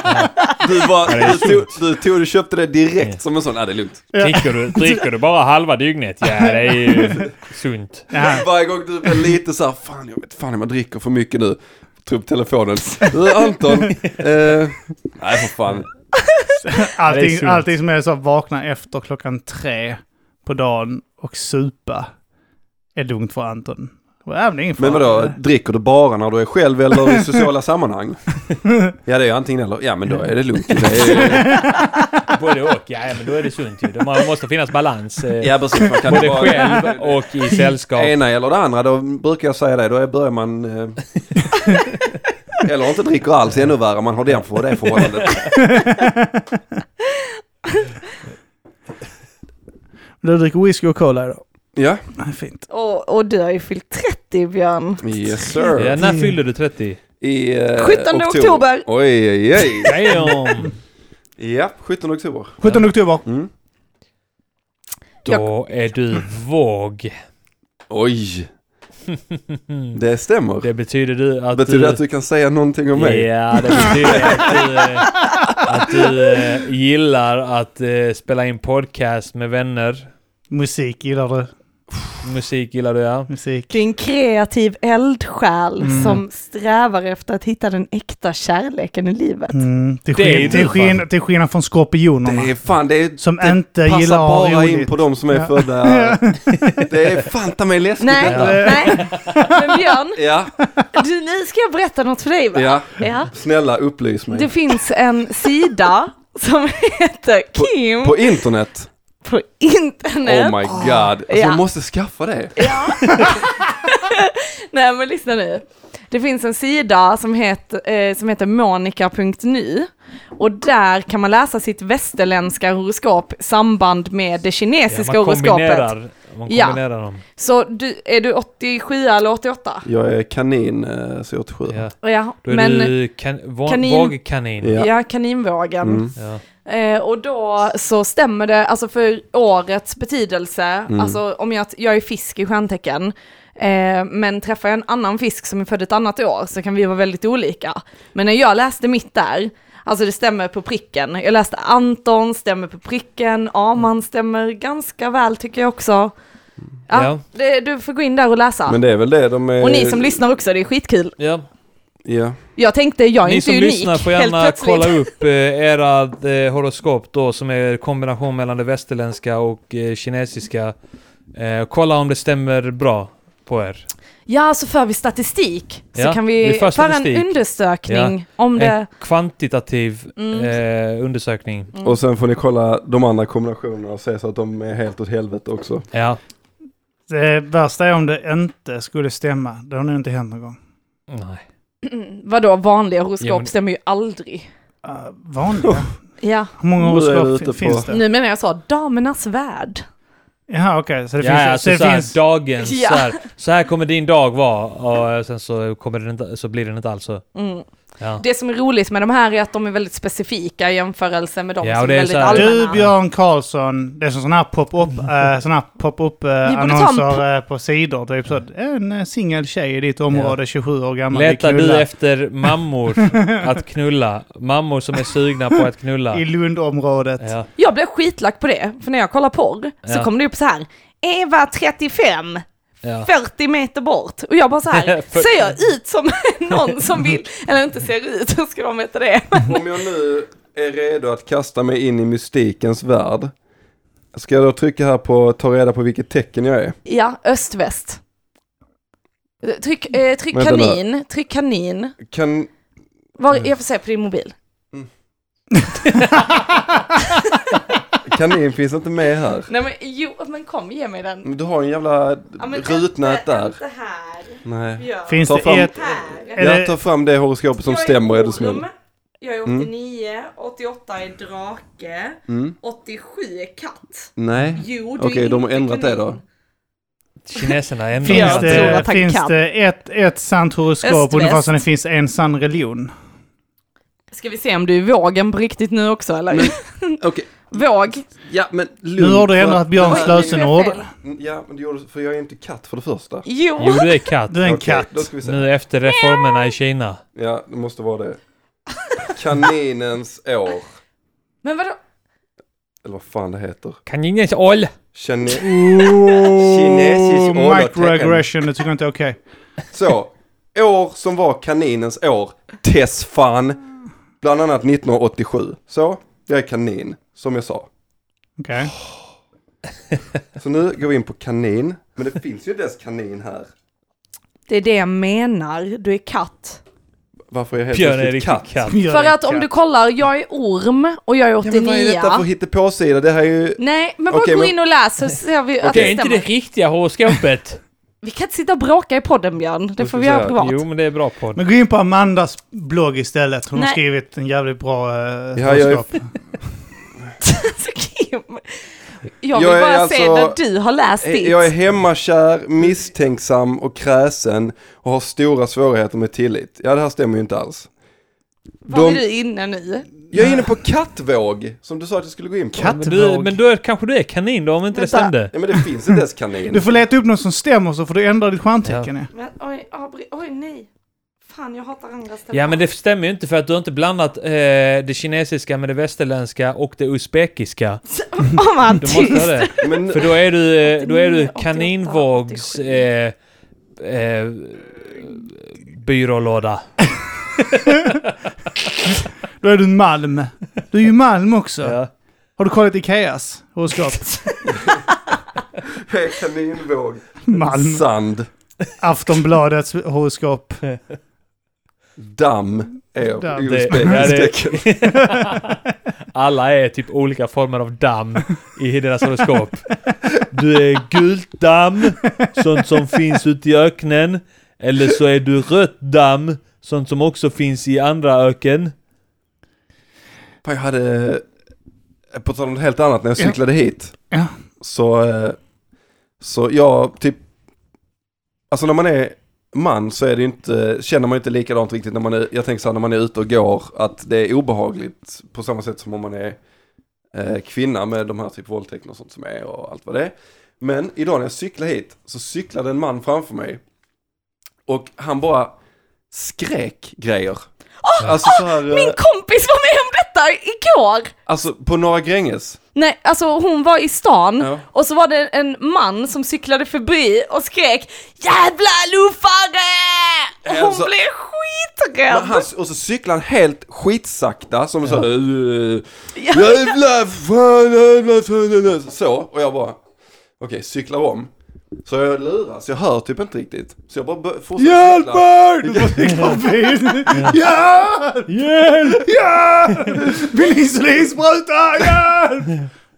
Du, bara, det är du, tog, du, tog, du köpte det direkt som en sån, nej det är lugnt. dricker, du, dricker du bara halva dygnet? Ja, det är ju sunt. Ja. Varje gång du blir lite så här, fan jag vet fan om jag dricker för mycket nu. Tog upp telefonen. Du Anton, eh, nej för fan. Det är Allting, sunt. allting som är så att vakna efter klockan tre på dagen och supa är lugnt för Anton. Och Även ingen fara. Men vadå, dricker du bara när du är själv eller i sociala sammanhang? Ja det är antingen eller, ja men då är det lugnt. Det är, Både och. Ja, ja, men då är det sunt ju. Det må- måste finnas balans. Eh, ja precis, man kan Både bara- själv och i sällskap. ena eller det andra, då brukar jag säga det, då är- börjar man... Eh, eller inte dricker alls, ännu värre, man har den för det förhållandet. Du dricker whisky och cola idag. Ja, Nej, Fint. Och, och du har ju fyllt 30 Björn. yes sir. Ja, när fyllde du 30? I, eh, 17 oktober. Oj, oj, oj. Damn! Ja, 17 oktober. 17 oktober. Mm. Då är du våg. Oj, det stämmer. Det betyder du att Betyder det du... att du kan säga någonting om mig? Ja, det betyder att du, eh, att du eh, gillar att eh, spela in podcast med vänner. Musik gillar du. Musik gillar du ja. Musik. Du är en kreativ eldsjäl Mm. som strävar efter att hitta den äkta kärleken i livet. Mm. Till, Det är ju skin, till, du, skin, fan. till skillnad från skorpionerna. Det är fan, det, är, Som det inte passar gillar att ha bara in roligt. på de som är Ja. födda. Det är fan ta mig läskigt Nej, detta. nej. Men Björn, Ja, du, nu ska jag berätta något för dig va? ja. Ja. Snälla upplys mig. Det finns en sida som heter Kim på, På internet? internet. Oh my god. Alltså, Ja. Jag måste skaffa det. Nej men lyssna nu. Det finns en sida som heter, eh, som heter monica.nu och där kan man läsa sitt västerländska horoskop i samband med det kinesiska man horoskopet. kombinerar, man Ja. kombinerar dem. Så du, är du 87 eller 88? Jag är kanin, eh, så jag åt sju. Ja. Ja, Då är men du kan, va, kanin- vågkanin. Ja. ja, kaninvågen. Mm. Ja. Eh, och då så stämmer det, alltså för årets betydelse, Mm. alltså om jag, jag är fisk i stjärntecken, eh, men träffar jag en annan fisk som är född ett annat år så kan vi vara väldigt olika. Men när jag läste mitt där, alltså det stämmer på pricken, jag läste Anton, stämmer på pricken, Aman stämmer ganska väl tycker jag också. Ja, Ja. Det, du får gå in där och läsa. Men eh, det är väl det de är... och ni som lyssnar också, det är skitkul. Ja. Ja. Jag tänkte, jag är Ni inte som unik, lyssnar får gärna helt plötsligt. kolla upp eh, era eh, horoskop då som är kombination mellan det västerländska och eh, kinesiska. Eh, kolla om det stämmer bra på er. Ja, så för vi statistik. så Ja, kan vi vi, för föra en statistik. Eh. undersökning om En det. kvantitativ Mm. eh, undersökning. Och sen får ni kolla de andra kombinationerna och se så att de är helt åt helvete också. Ja. Det värsta är om det inte skulle stämma. Det har nog inte hänt någon gång. Nej. Vadå, vanliga horoskop Ja, men- stämmer ju aldrig. Uh, vanliga? Ja, Hur många Nu är du horoskop ute fin- på- finns det? nu menar jag så, damernas värld. Jaha, okej. Så det ja, finns... alltså så det så här, finns dagens, Ja. så, här, så här kommer din dag vara och eh, sen så, kommer den inte, så blir den inte alls så. Mm. Ja. Det som är roligt med de här är att de är väldigt specifika i jämförelse med de Ja, och som det är är väldigt så här- allmänna. Du, Björn Karlsson, det är som sådana här pop-up, eh, såna här pop-up Vi eh, borde ta en po- annonser eh, på sidor. Typ så, att en eh, singel tjej i ditt område, 27 år gammal, vill Letar knulla du efter mammor att knulla? Mammor som är sugna på att knulla? i Lundområdet. Ja. Jag blev skitlack på det, för när jag kollar porr så Ja. kommer det upp så här, Eva 35, Ja. 40 meter bort. Och jag bara så här, ser jag ut som någon som vill, eller inte ser ut, hur ska de veta det? Om jag nu är redo att kasta mig in i mystikens värld. Ska jag då trycka här på ta reda på vilket tecken jag är? Ja, öst-väst. Tryck, eh, tryck Mm. Vänta nu. Mm. kanin, tryck kanin. Kan... Var, jag får se på din mobil. Kanin finns inte med här. Nej men jo, men kom ge mig den. Men Du har en jävla Ja, men rutnät inte- där. Inte här, Nej. Björn. Finns Ta det fram- ett... här. Är Jag det- tar fram det horoskopet som Jag stämmer är du Orm. snäll. Jag är Mm. 89, 88 är drake, Mm. 87 är katt. Nej. Jo, du är Okej, de har inte ändrat det kanin. då. Kineserna ändrar Finns Jag tror det, att han finns kan. det ett, ett sant horoskop, Öst-väst. ungefär som det finns en sann religion? Ska vi se om du är vågen på riktigt nu också eller? Men- Okej, Våg. Ja, men Nu har du ändrat ändrat Björns Oj, lösenord. nu är jag fel. Ja, men det gjorde för jag är inte katt för det första. Jo. Jo, du är eh, katt. Du är en Okej, katt. Då ska vi se. Nu efter reformerna i Kina. Ja, det måste vara det. Kaninens år. Men vadå? Eller vad fan det heter. Kaninens ål! Kine- Ooh, Kinesisk åldertecken. microaggression, det tycker jag inte är okej. Så, år som var kaninens år. Tess fan. Bland annat 1987. Så, jag är kanin, som jag sa. Okej. Så nu går vi in på kanin. Men det finns ju inte ens kanin här. Det är det jag menar, du är katt. Varför är jag helt Björn är plötsligt riktigt katt. katt? Mjölk, För att om ja. du kollar, jag är orm och jag är Ja, men 89. vad är detta för hittepåsida? Det här är ju... Nej, men bara Okej, gå men- in och läs så ser vi att Det är det inte stämmer. det riktiga horoskopet. Vi kan inte sitta och bråka i podden Björn, det ska får vi jag säga? göra privat. Jo, men det är bra podd. Men gå in på Amandas blogg istället. Hon har Nej. skrivit en jävligt bra uh, Ja, jag är- Alltså, Kim, jag vill Jag är bara se alltså- när du har läst ditt. Jag är hemmakär, misstänksam och kräsen och har stora svårigheter med tillit. Ja, det här stämmer ju inte alls. Var är de- du inne nu? Jag är inne på kattvåg, som du sa att jag skulle gå in på. Katt- Men, du, men då är, kanske du är kanin då, om inte Vänta. det stämde. Ja, men det finns inte ens kanin. Du får leta upp något som stämmer så får du ändra ditt stjärntecken. Ja. Men, oj, Abri, oj nej. Fan, jag hatar andra ställen. Ja, men det stämmer ju inte för att du har inte blandat eh, det kinesiska med det västerländska och det uzbekiska. Åh, vad Du måste tyst. ha det. Men, För då är du, eh, då är du 89, 88, kaninvågs... Eh, eh, byrålåda. Då är du en malm. Du är ju malm också. Ja. Har du kollat Ikeas horoskop? kaninvåg. Malm. Sand. Aftonbladets horoskop. Damm. Är Damm. Det- ja, det- Uzbekistecken. Alla är typ olika former av damm i deras horoskop. Du är gult damm, sånt som finns ute i öknen. Eller så är du rött damm, sånt som också finns i andra öken. Fan, jag hade... eh, På tal om något helt annat, när jag cyklade hit. Ja. Så, eh, så jag typ... Alltså när man är man så är det ju inte, känner man ju inte likadant riktigt när man är, jag tänker så här, när man är ute och går, att det är obehagligt på samma sätt som om man är eh, kvinna med de här typ våldtäkterna och sånt som är och allt vad det är. Men idag när jag cyklade hit så cyklade en man framför mig och han bara skrek grejer. alltså så här, eh, Min kompis var med om detta igår. Alltså på Norra Gränges? Nej, alltså hon var i stan Mm. Ja. och så var det en man som cyklade förbi och skrek Jävla luffare! Och hon Alltså- blev skiträdd! Men Han, och så cyklar han helt skitsakta som så här, "Eh, Jävla fan, jävla fan, jävla fan." Så, och jag bara Okej, cyklar om. Så jag luras, jag hör typ inte riktigt. Så jag bara bör- fortsätter Hjälp cykla. mig! Du måste cykla bil. Hjälp! Hjälp! Hjälp! Min insulinspruta! Hjälp!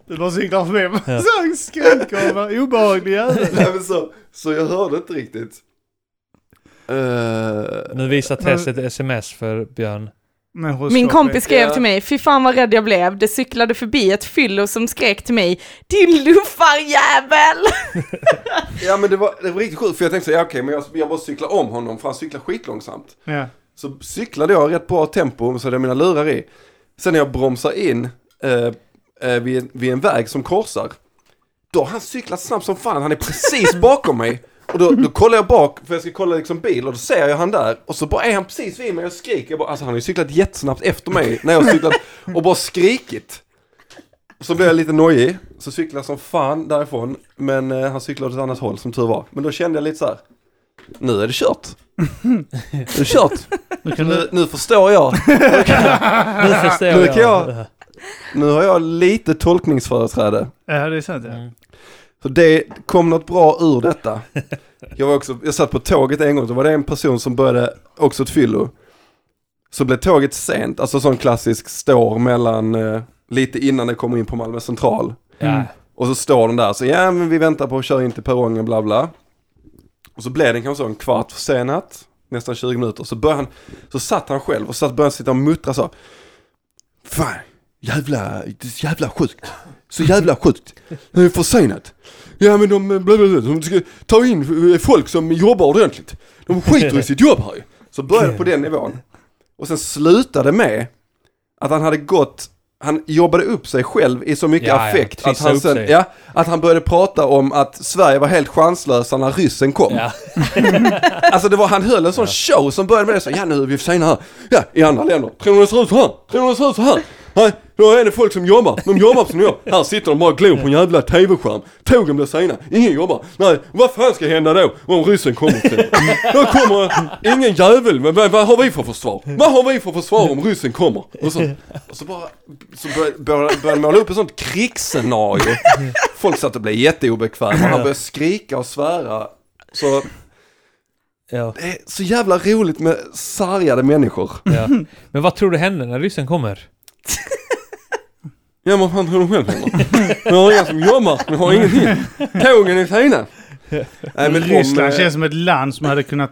Du bara cyklar förbi. Ja. Så skräckkomma. Obehaglig jävel. Nej, men så, så jag hörde inte riktigt. Eh, Nu visar Tess ett sms för Björn. Men horoskop Min är- kompis skrev Ja. till mig, fy fan vad rädd jag blev, det cyklade förbi ett fyllo som skrek till mig Din luffarjävel! ja men det var, det var riktigt sjukt för jag tänkte så, ja, okej men jag, jag bara cyklar om honom för han cyklar skitlångsamt. Ja. Så cyklade jag i rätt bra tempo, så hade jag mina lurar i. Sen när jag bromsar in eh, eh, vid, vid en väg som korsar, då har han cyklat snabbt som fan, han är precis bakom mig. Och då, då kollar jag bak, för jag ska kolla liksom bil, och då ser jag han där, och så bara är han precis vid mig och jag skriker. Jag bara, alltså han har ju cyklat jättesnabbt efter mig när jag har cyklat, och bara skrikit. Så blev jag lite nojig, så cyklade jag som fan därifrån, men eh, han cyklade åt ett annat håll som tur var. Men då kände jag lite så här, nu är det kört. Nu är det kört. Nu kan du... Nu, nu förstår jag. Nu förstår Nu jag. kan jag- Nu har jag lite tolkningsföreträde. Ja, det är sant ja. Så det kom något bra ur detta. Jag, var också, jag satt på tåget en gång, då var det en person som började också ett fyllo. Så blev tåget sent, alltså sån klassisk står mellan, eh, lite innan det kommer in på Malmö central. Ja. Och så står den där, så ja men vi väntar på att köra in till perrongen, bla bla. Och så blev den kanske så en kvart försenat, nästan 20 minuter. Så började han, så satt han själv och satt, började han sitta och muttra så. Fan, jävla, det är så jävla sjukt. Så jävla sjukt. Det är försenat. Ja men de, bla, bla, bla, de ska ta in eh, folk som jobbar ordentligt. De skiter i sitt jobb här ju. Så började på den nivån. Och sen slutade med att han hade gått, han jobbade upp sig själv i så mycket Ja, ja, affekt att, trissa han upp sen, sig. ja, att han började prata om att Sverige var helt chanslösa när ryssen kom. Ja. Alltså det var, han höll en sån show som började med det så, ja nu är vi sena här, ja i andra länder, tror ni det ser ut så här? Tror ni det ser ut så här? Nej, då är det folk som jobbar, de jobbar som jag. Här sitter de bara och glor på en jävla tv-skärm. Tågen blir sena, ingen jobbar. Nej, vad fan ska hända då om ryssen kommer till? Då kommer ingen jävel, men vad, vad har vi för försvar? Vad har vi för försvar om ryssen kommer? Och så, och så bara, så började- började började måla upp ett sånt krigsscenario. Folk satt och blev jätteobekväma, han började skrika och svära. Så Ja, det är så jävla roligt med sargade människor. ja. Men vad tror du händer när ryssen kommer? Ja men fan tror du själv heller? Vi har inga som jobbar, vi har ingenting. Tågen är sena. Nej men Ryssland om, eh, känns som ett land som hade kunnat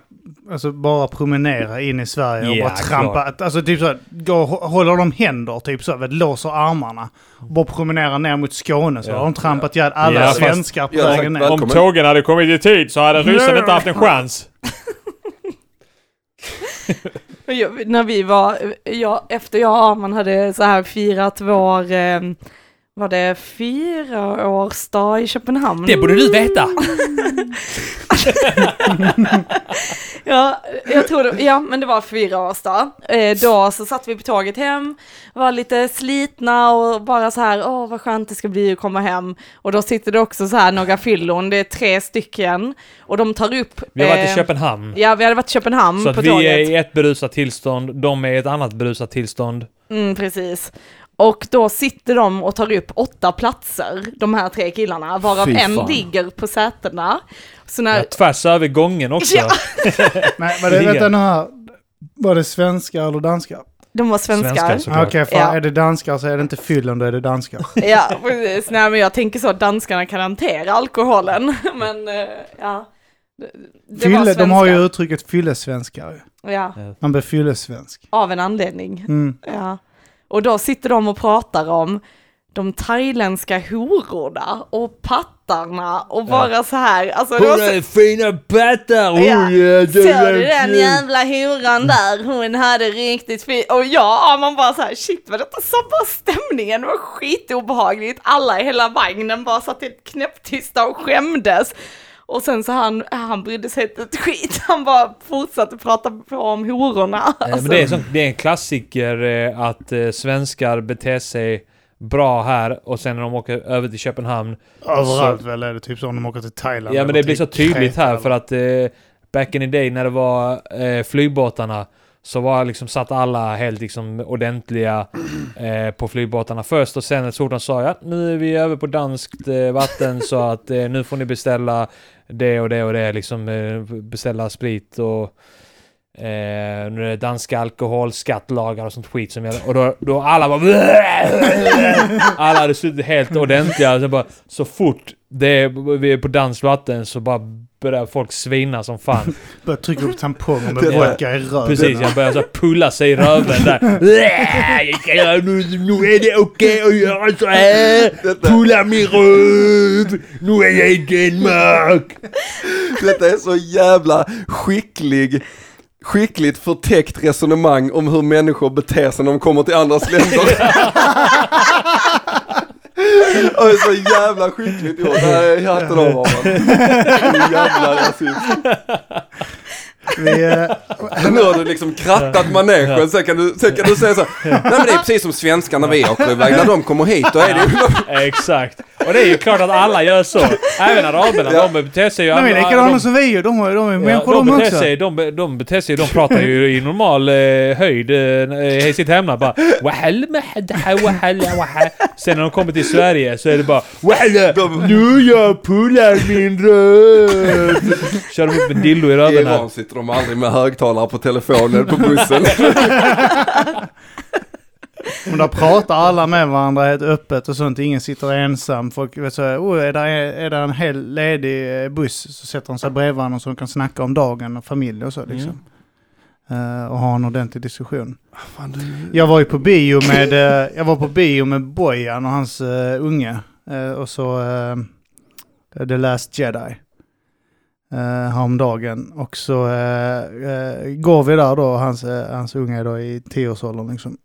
alltså, bara promenera in i Sverige och Ja, bara trampa. Alltså typ så, här, gå, och hå- håller de händer typ så, vet, låser armarna. Bara promenerar ner mot Skåne så Ja. har de trampat ihjäl alla Ja, fast- svenskar på Ja, exakt. vägen ner. Om Välkommen. tågen hade kommit i tid så hade ryssen inte haft en chans. Men Jag, när vi var, jag, efter jag och Arman hade så här firat vår, eh, var det fyraårsdag i Köpenhamn? Det borde du veta! Ja, jag tror det, ja, men det var fyraårsdag. Eh, då så satt vi på tåget hem, var lite slitna och bara så här, åh vad skönt det ska bli att komma hem. Och då sitter det också så här några fyllon, det är tre stycken, och de tar upp... Vi har varit i eh, Köpenhamn. Ja, vi hade varit i Köpenhamn Så på att tåget. vi är i ett berusat tillstånd, de är i ett annat berusat tillstånd. Mm, precis. Och då sitter de och tar upp åtta platser, de här tre killarna, varav Fy en fan. ligger på sätena. Så Ja, när, tvärs över gången också. Ja. Nej, var det, Ligga. vänta nu här. Var det svenskar eller danskar? de var svenskar. Svenskar Okej, såklart. för Ja. är det danskar så är det inte fyllen, då är det danskar. Ja, precis. Nej, men jag tänker så att danskarna kan hantera alkoholen. Men eh, ja, det, det var Fylle, de har ju svenskar. uttrycket fyllesvenskar. ju. Ja, Man blir fyllesvensk. av en anledning. Mm. Ja. Och då sitter de och pratar om de thailändska hororna och pattarna och bara så här. Alltså, det var så- fina pattar! Ja. Såg du den jävla horan där? Hon hade riktigt fint. Och ja, man bara så här, shit vad detta så bara stämningen Det var skitobehagligt. Alla i hela vagnen bara satt helt knäpptysta och skämdes. Och sen så han, han brydde sig inte ett skit, han bara fortsatte prata på om hororna. Alltså, Men det, är sån, det är en klassiker eh, att eh, svenskar beter sig bra här och sen när de åker över till Köpenhamn. Överallt väl är det typ så om de åker till Thailand. Ja men eller det blir så till tydligt Kreta här eller- för att eh, back in the day när det var eh, flygbåtarna så var liksom satt alla helt liksom ordentliga eh, på flygbåtarna först och sen så fort de sa ja nu är vi över på danskt eh, vatten så att eh, nu får ni beställa det och det och det liksom eh, beställa sprit och eh, nu är det danska alkoholskattlagar och sånt skit som gäller och då, då alla bara alla hade suttit helt ordentliga och sen bara så fort det är, vi är på dansvatten så bara börjar folk svina som fan Börjar trycka upp tamponger med Det var- vodka i röven. Precis, jag börjar så här pulla sig i röven där. Ja, nu, nu är det okej att göra så här. Pulla min röv. Nu är jag i Danmark. Detta är så jävla skicklig, skickligt förtäckt resonemang om hur människor beter sig när de kommer till andras länder. Och det är så jävla skickligt gjort. Nej, hatten av Arman. Jävla rasism. Vi, eh, Men nu har du liksom krattat manegen, sen kan du, sen kan du säga så här, Nej men det är precis som svenskar när vi åker iväg, när de kommer hit då är det ju... Exakt. Och det är ju klart att alla gör så. Även araberna, de beter sig ju... de är likadana de- som vi ju. De, har ju- de är Ja, människor de, de beter också. sig, de, be- de beter sig, de pratar ju i normal eh, höjd eh, i sitt hemland bara "Wahal mahadaha, wahal, wahal." Sen när de kommer till Sverige så är det bara "Wahal, Nu jag pullar min röv Kör de upp en dildo i I röven här. Iran sitter de aldrig med högtalare på telefonen på bussen. Men där pratar alla med varandra helt öppet och sånt. Ingen sitter ensam. Folk vet så här, oh, är, där, är där en hel ledig eh, buss så sätter de sig bredvid varandra så de kan snacka om dagen och familj och så liksom. Eh, och ha en ordentlig diskussion. Jag var ju på bio med, eh, jag var på bio med Bojan och hans eh, unge. Eh, och så eh, The Last Jedi. Uh, häromdagen. eh, Och så uh, uh, går vi där då, hans, eh, hans unge är då i tioårsåldern liksom.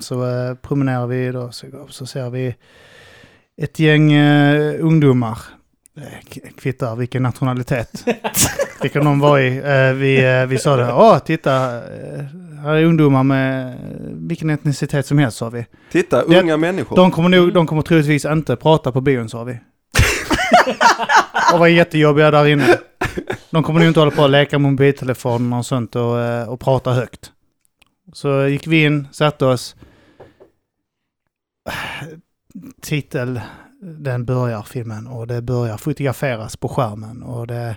så eh, promenerar vi då, så, så ser vi ett gäng eh, ungdomar, eh, k- kvittar vilken nationalitet, vilken de var i. Eh, vi, eh, vi sa det, åh titta, eh, här är ungdomar med eh, vilken etnicitet som helst sa vi. Titta, Det- unga människor. De kommer, nog, de kommer troligtvis inte prata på bion sa vi. och var jättejobbiga där inne. De kommer nog inte hålla på och leka med mobiltelefonerna och sånt och, eh, och prata högt. Så gick vi in, satte oss. Titel, den börjar filmen och det börjar fotograferas på skärmen och det...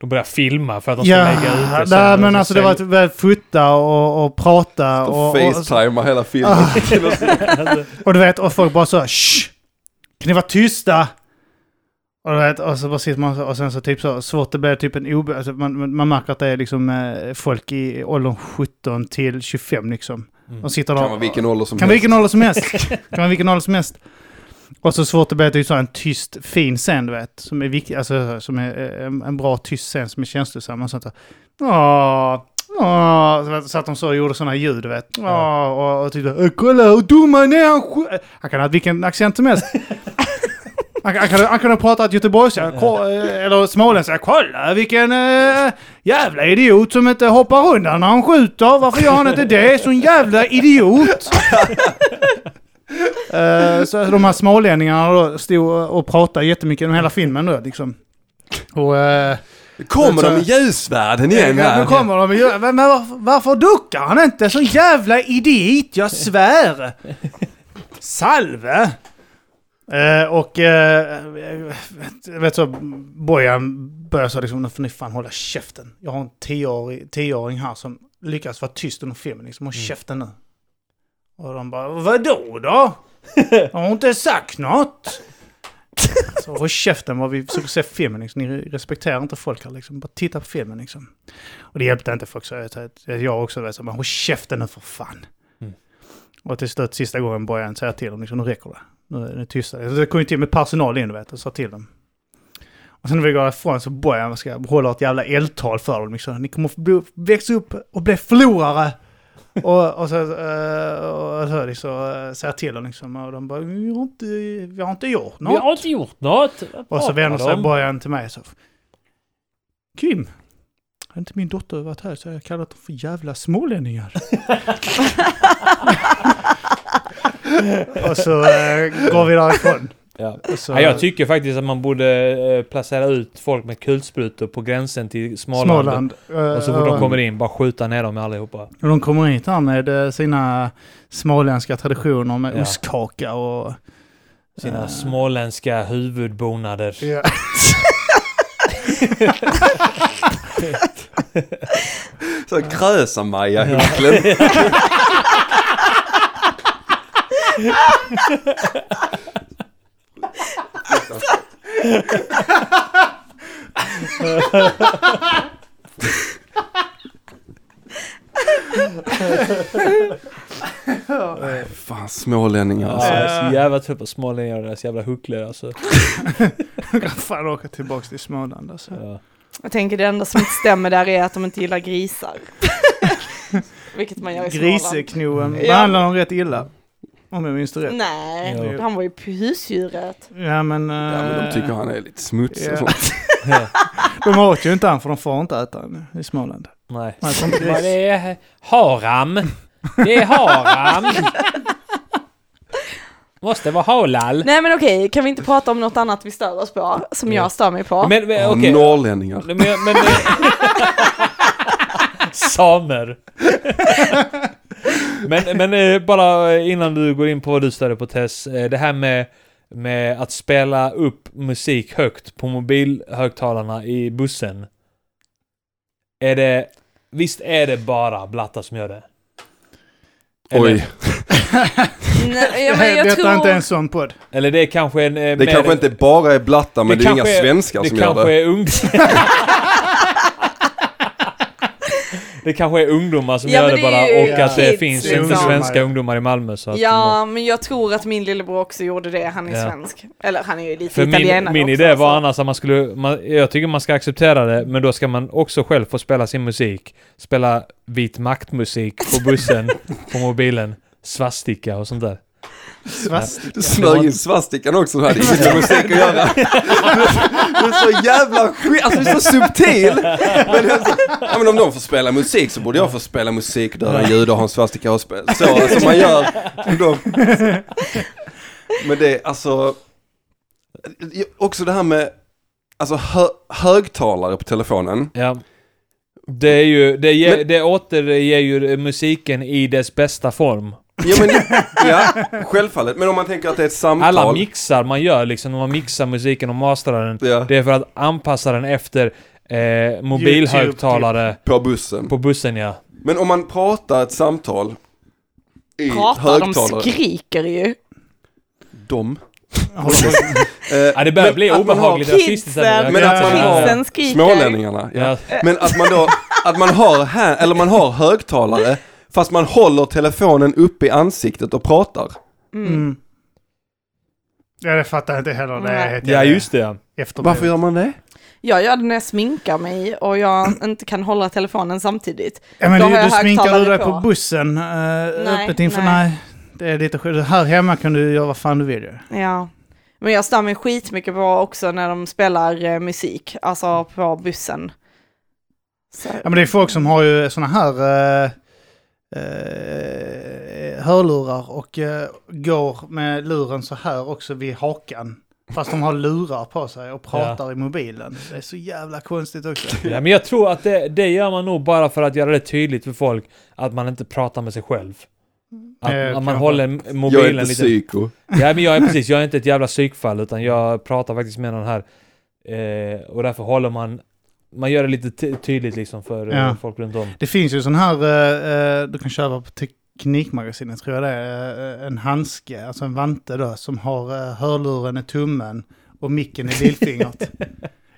De börjar filma för att de ska Ja, lägga ut det sen nej och men så alltså det var att väl fota och, och prata och... och- Facetimar hela filmen. Ah. Och du vet, och folk bara så shh! Kan ni vara tysta? Och du vet, och så bara sitter man så, och sen så typ så svårt det blir typ en obe... Alltså man, man- man märker att det är liksom eh, folk i åldern 17 till 25 liksom. Mm. De sitter där. Kan vara vilken ålder som Kan helst. vilken ålder som helst. kan vara vilken ålder som helst. Och så svårt det blir typ så en tyst fin scen du vet. Som är viktig, alltså som är eh, en, en bra tyst scen som är känslosam och sånt där. Åh, åh. Så vet- Så att de så gjorde sådana ljud du vet. Åh, och, och typ "Eh, kolla hur dum han är. Han, sk-" han kan ha vilken accent som helst. Han, kan- han, kan, han kan ha pratat göteborgska, ko- eh, eller småländska. Kolla vilken eh, jävla idiot som inte hoppar undan när han skjuter. Varför gör han inte det? Sån jävla idiot! Eh, så de här smålänningarna då stod och pratade jättemycket genom hela filmen då liksom. Och... eh, Kommer de i ljusvärlden igen Ja, nu här? kommer de ju. Men varför, varför duckar han inte? Sån jävla idiot, jag svär! Salve! Eh, och... Eh, jag vet så, Bojan börjar så liksom, nu får ni fan hålla käften. Jag har en tioårig, tioåring här som lyckas vara tyst under filmen liksom, håll käften nu. Och de bara, vadå då? Har hon inte sagt något? Så håll käften vad vi försöker se filmen liksom. Ni respekterar inte folk här liksom. Bara titta på filmen liksom. Och det hjälpte inte folk så jag, jag- jag också vet så men håll käften nu för fan. Mm. Och till slut sista gången började jag säga till dem liksom, nu räcker det. Nu är det tysta. Så det kom ju till med personal in du vet och sa till dem. Och sen när vi går ifrån så började jag ska hålla ett jävla eldtal för dem liksom. Ni kommer få bli, växa upp och bli förlorare. och, och så, eh, och så liksom, eh, säger jag till dem liksom. Och de bara, vi har inte, vi har inte gjort något. Vi har inte gjort något. Och så Pratar vänder sig de? Bojan till mig så. Kim, har inte min dotter varit här så har jag kallat dem för jävla smålänningar. och så eh, går vi därifrån. Ja. Och så, Ja, jag tycker faktiskt att man borde eh, placera ut folk med kulsprutor på gränsen till Småland. Småland. eh, Och så fort de kommer in, bara skjuta ner dem allihopa. och de kommer hit här med eh, sina småländska traditioner med Ja. ostkaka och... Sina eh, småländska huvudbonader. Ja. Så Krösa-Maja Hulklen. Fan, smålänningar Alltså, alltså. jag är så jävla trött på smålänningar och deras jävla hucklor alltså. Jag kan fan åka tillbaka till Småland alltså. Ja. Jag tänker det enda som inte stämmer där är att de inte gillar grisar. Vilket man gör i Småland. Griseknoen behandlar dem rätt illa. Om jag minns det Mm. rätt. Nej, Jo. han var ju på husdjuret. Ja men... eh, Ja, men de tycker han är lite smutsig Ja. och sånt. De åt ju inte han för de får inte äta den i Småland. Nej. Man får inte Vad gris. det är haram. Det är haram. Måste vara halal. Nej men okej, kan vi inte prata om något annat vi stör oss på? Som Ja. jag stör mig på? Men, men Ja, okej. Norrlänningar. Men, men, men, samer. men, men eh, bara innan du går in på vad du stöder på Tess. eh, Det här med, med att spela upp musik högt på mobilhögtalarna i bussen. Är det... Visst är det bara blattar som gör det? Eller, Oj, Nej, ja, men Detta jag är inte en tror... sån podd. eller det är kanske en... eh, det mer- kanske inte bara är blattar men det, är inga kanske svenskar det som gör kanske det. är ung... Det kanske är ungdomar som Ja, gör men det det bara är ju och att det kids, finns liksom. inte svenska ungdomar i Malmö så att Ja, men jag tror att min lillebror också gjorde det. Han är Ja. svensk. Eller han är ju lite För min, italienare min också, alltså. idé var så- annars att man skulle, man, jag tycker man ska acceptera det, men då ska man också själv få spela sin musik. Spela vit maktmusik på bussen, på mobilen, svastika och sånt där. Svastik. Du smög in svastikan också, du hade inget med musik att göra. Du, du är så jävla skit, alltså du är så subtil. Men, jag- ja, men om de får spela musik så borde jag få spela musik, döda ljud och ha en svastika och spela. Så som man gör. Som de. Men det, är alltså, eh, också det här med, alltså hö, högtalare på telefonen. Ja. Det är ju, det, ger, Men- det återger ju musiken i dess bästa form. Ja, men, ja, självfallet. Men om man tänker att det är ett samtal. Alla mixar man gör liksom, när man mixar musiken och masterar den, ja, det är för att anpassa den efter eh, mobilhögtalare på bussen. på bussen ja. Men om man pratar ett samtal i Pratar, de högtalare. skriker ju. Dem. Håller på- Eh, Ja det börjar men bli att man har- obehagligt rasistiskt. Kidsen, här nu. Jag Men kan att inte man säga- har- kidsen skriker. Smålänningarna, ja. Ja. Men att man då, att man har, här, eller man har högtalare fast man håller telefonen uppe i ansiktet och pratar. Mm. Mm. Ja, det fattar jag inte heller. Det är Nej. helt Ja just det. Varför efterblivet. gör man det? Jag gör det när jag sminkar mig och jag inte kan hålla telefonen samtidigt. Ja, men Då du, har du jag sminkar högtalare du dig på. på bussen eh, öppet inför... nej. Nej. Det är lite skillnad. Här hemma kan du göra vad fan du vill ju. Ja. Men jag stör mig skitmycket på också när de spelar eh, musik, alltså på bussen. Så, Ja, men det är folk som har ju såna här eh, eh, hörlurar och eh, går med luren så här också vid hakan. Fast de har lurar på sig och pratar i mobilen. Det är så jävla konstigt också. Ja, men jag tror att det, det gör man nog bara för att göra det tydligt för folk att man inte pratar med sig själv. Att, Eh, att man kanske. håller m- mobilen jag är inte lite... psyko. Ja men jag är precis, jag är inte ett jävla psykfall utan jag pratar faktiskt med någon här. Eh, och därför håller man... Man gör det lite ty- tydligt liksom för eh, Ja. folk runt om. Det finns ju sån här, eh, eh, du kan köpa på Teknikmagasinet tror jag det är, eh, en handske, alltså en vante då, som har eh, hörluren i tummen och micken i lillfingret.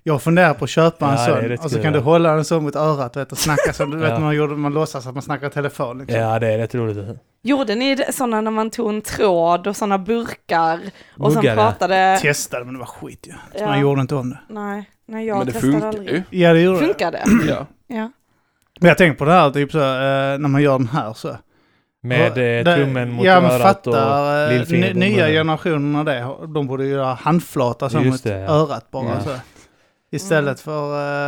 Jag funderar på att köpa en Ja, det är sån rätt och så kul, kan ja. du hålla den så mot örat vet, och snacka som du Ja. vet, man, gjorde, man låtsas att man snackar i telefon. Liksom. Ja det är rätt roligt. Gjorde ni det- sådana när man tog en tråd och sådana burkar och sen Muggar, ja. pratade... Testade men det var skit ju. Så Ja. man gjorde inte om det. Nej, nej jag Men det testade funkar aldrig. ju. Ja det gjorde det. Funkar det? Ja. Ja. Men jag tänker på det här typ så, eh, när man gör den här så. Med eh, Det- tummen mot ja, men örat och... fattar, eh, lillfingret n- på Nya munnen. generationer det, de borde ju göra handflata som Just mot det, ja. örat bara. Ja. Så. Istället för...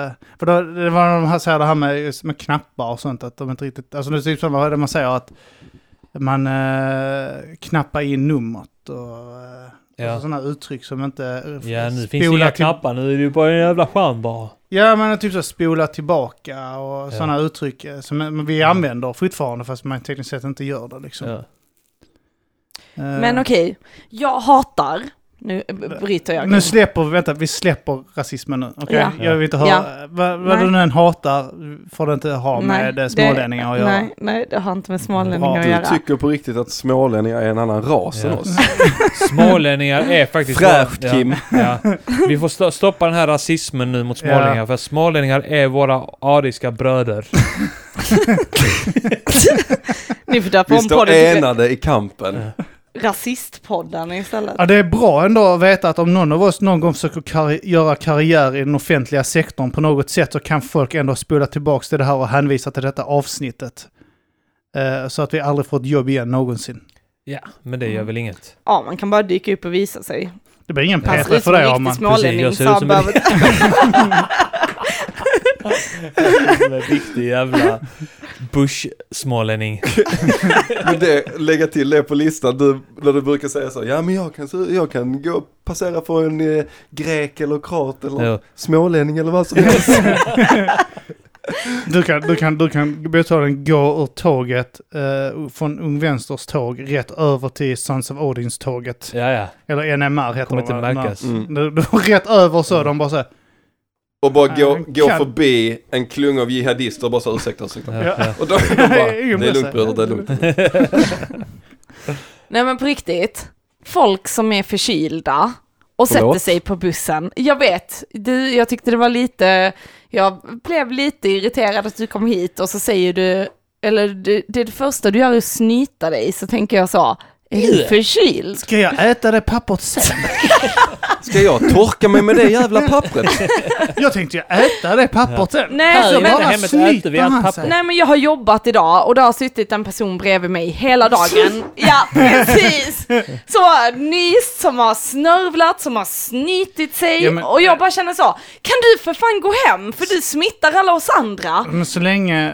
eh, För då, det var de här, så här, det här med, just med knappar och sånt, att de inte riktigt... Alltså det är typ som vad är det man säger att man eh, knappar in numret och... Eh, Ja. Sådana uttryck som inte... eh, Ja nu finns spolar inga till- knappar nu, är det ju bara en jävla skärm bara. Ja, men typ så spola tillbaka och Ja. sådana uttryck eh, som eh, vi använder fortfarande fast man tekniskt sett inte gör det liksom. Ja. Eh, Men okej, jag hatar... Nu b- bryter jag. Nu släpper vi, vänta, vi släpper rasismen nu. Okej? Ja. Jag vill inte höra, Ja. vad, vad Nej. du än hatar får du inte ha med eh, smålänningar att det, göra. nej, nej, det har inte med smålänningar Bra. att Du göra. tycker på riktigt att smålänningar är en annan ras Ja. än oss. Smålänningar är faktiskt... Fräscht Ja. Kim. Ja. Vi får sto- stoppa den här rasismen nu mot smålänningar, för smålänningar är våra ariska bröder. Ni får döpa Vi om står podden till enade i kampen. Rasistpodden istället. Ja, det är bra ändå att veta att om någon av oss någon gång försöker karri- göra karriär i den offentliga sektorn på något sätt så kan folk ändå spola tillbaka till det här och hänvisa till detta avsnittet. Eh, så att vi aldrig får ett jobb igen någonsin. Ja, men det Mm. gör väl inget. Ja, man kan bara dyka upp och visa sig. Det blir ingen Ja. Han PT ser ut för Alltså, som det en om man... riktig smålänning. Precis, så jag ser ut han som behöver... En riktig jävla bush-smålänning. Men det, lägga till det på listan, du, när du brukar säga så, ja men jag kan, se- jag kan gå och passera på en eh, grek eller kroat eller Ja. smålänning eller vad som helst. Du kan, du kan, du kan bokstavligen gå ur tåget eh, från Ung Vänsters tåg rätt över till Sons of Odins tåget. Ja, ja. Eller NMR heter Kommer de, inte va? märkas. Mm. Du, du rätt över så, de bara så här, Och bara gå, Han gå kan- förbi en klunga av jihadister och bara så ursäkta, ursäkta. Ja, ja. Och då, de bara, Ingen det bryr är sig. lugnt bröder, det är lugnt. Nej men på riktigt, folk som är förkylda och Förlåt? sätter sig på bussen. Jag vet, du, jag tyckte det var lite, jag blev lite irriterad att du kom hit och så säger du, eller det, det, första du gör är att snyta dig, så tänker jag så, är du förkyld? Ska jag äta det pappret sen? Ska jag torka mig med det jävla pappret? Jag tänkte ju äta det pappret sen. Nej, Här i men- hemmet äter vi snyter allt han papper. sig. Nej men jag har jobbat idag och det har suttit en person bredvid mig hela dagen. Ja precis! Så nyst som har snörvlat, som har snitit sig Ja, men- och jag bara känner så, kan du för fan gå hem för du smittar alla oss andra. Men så länge,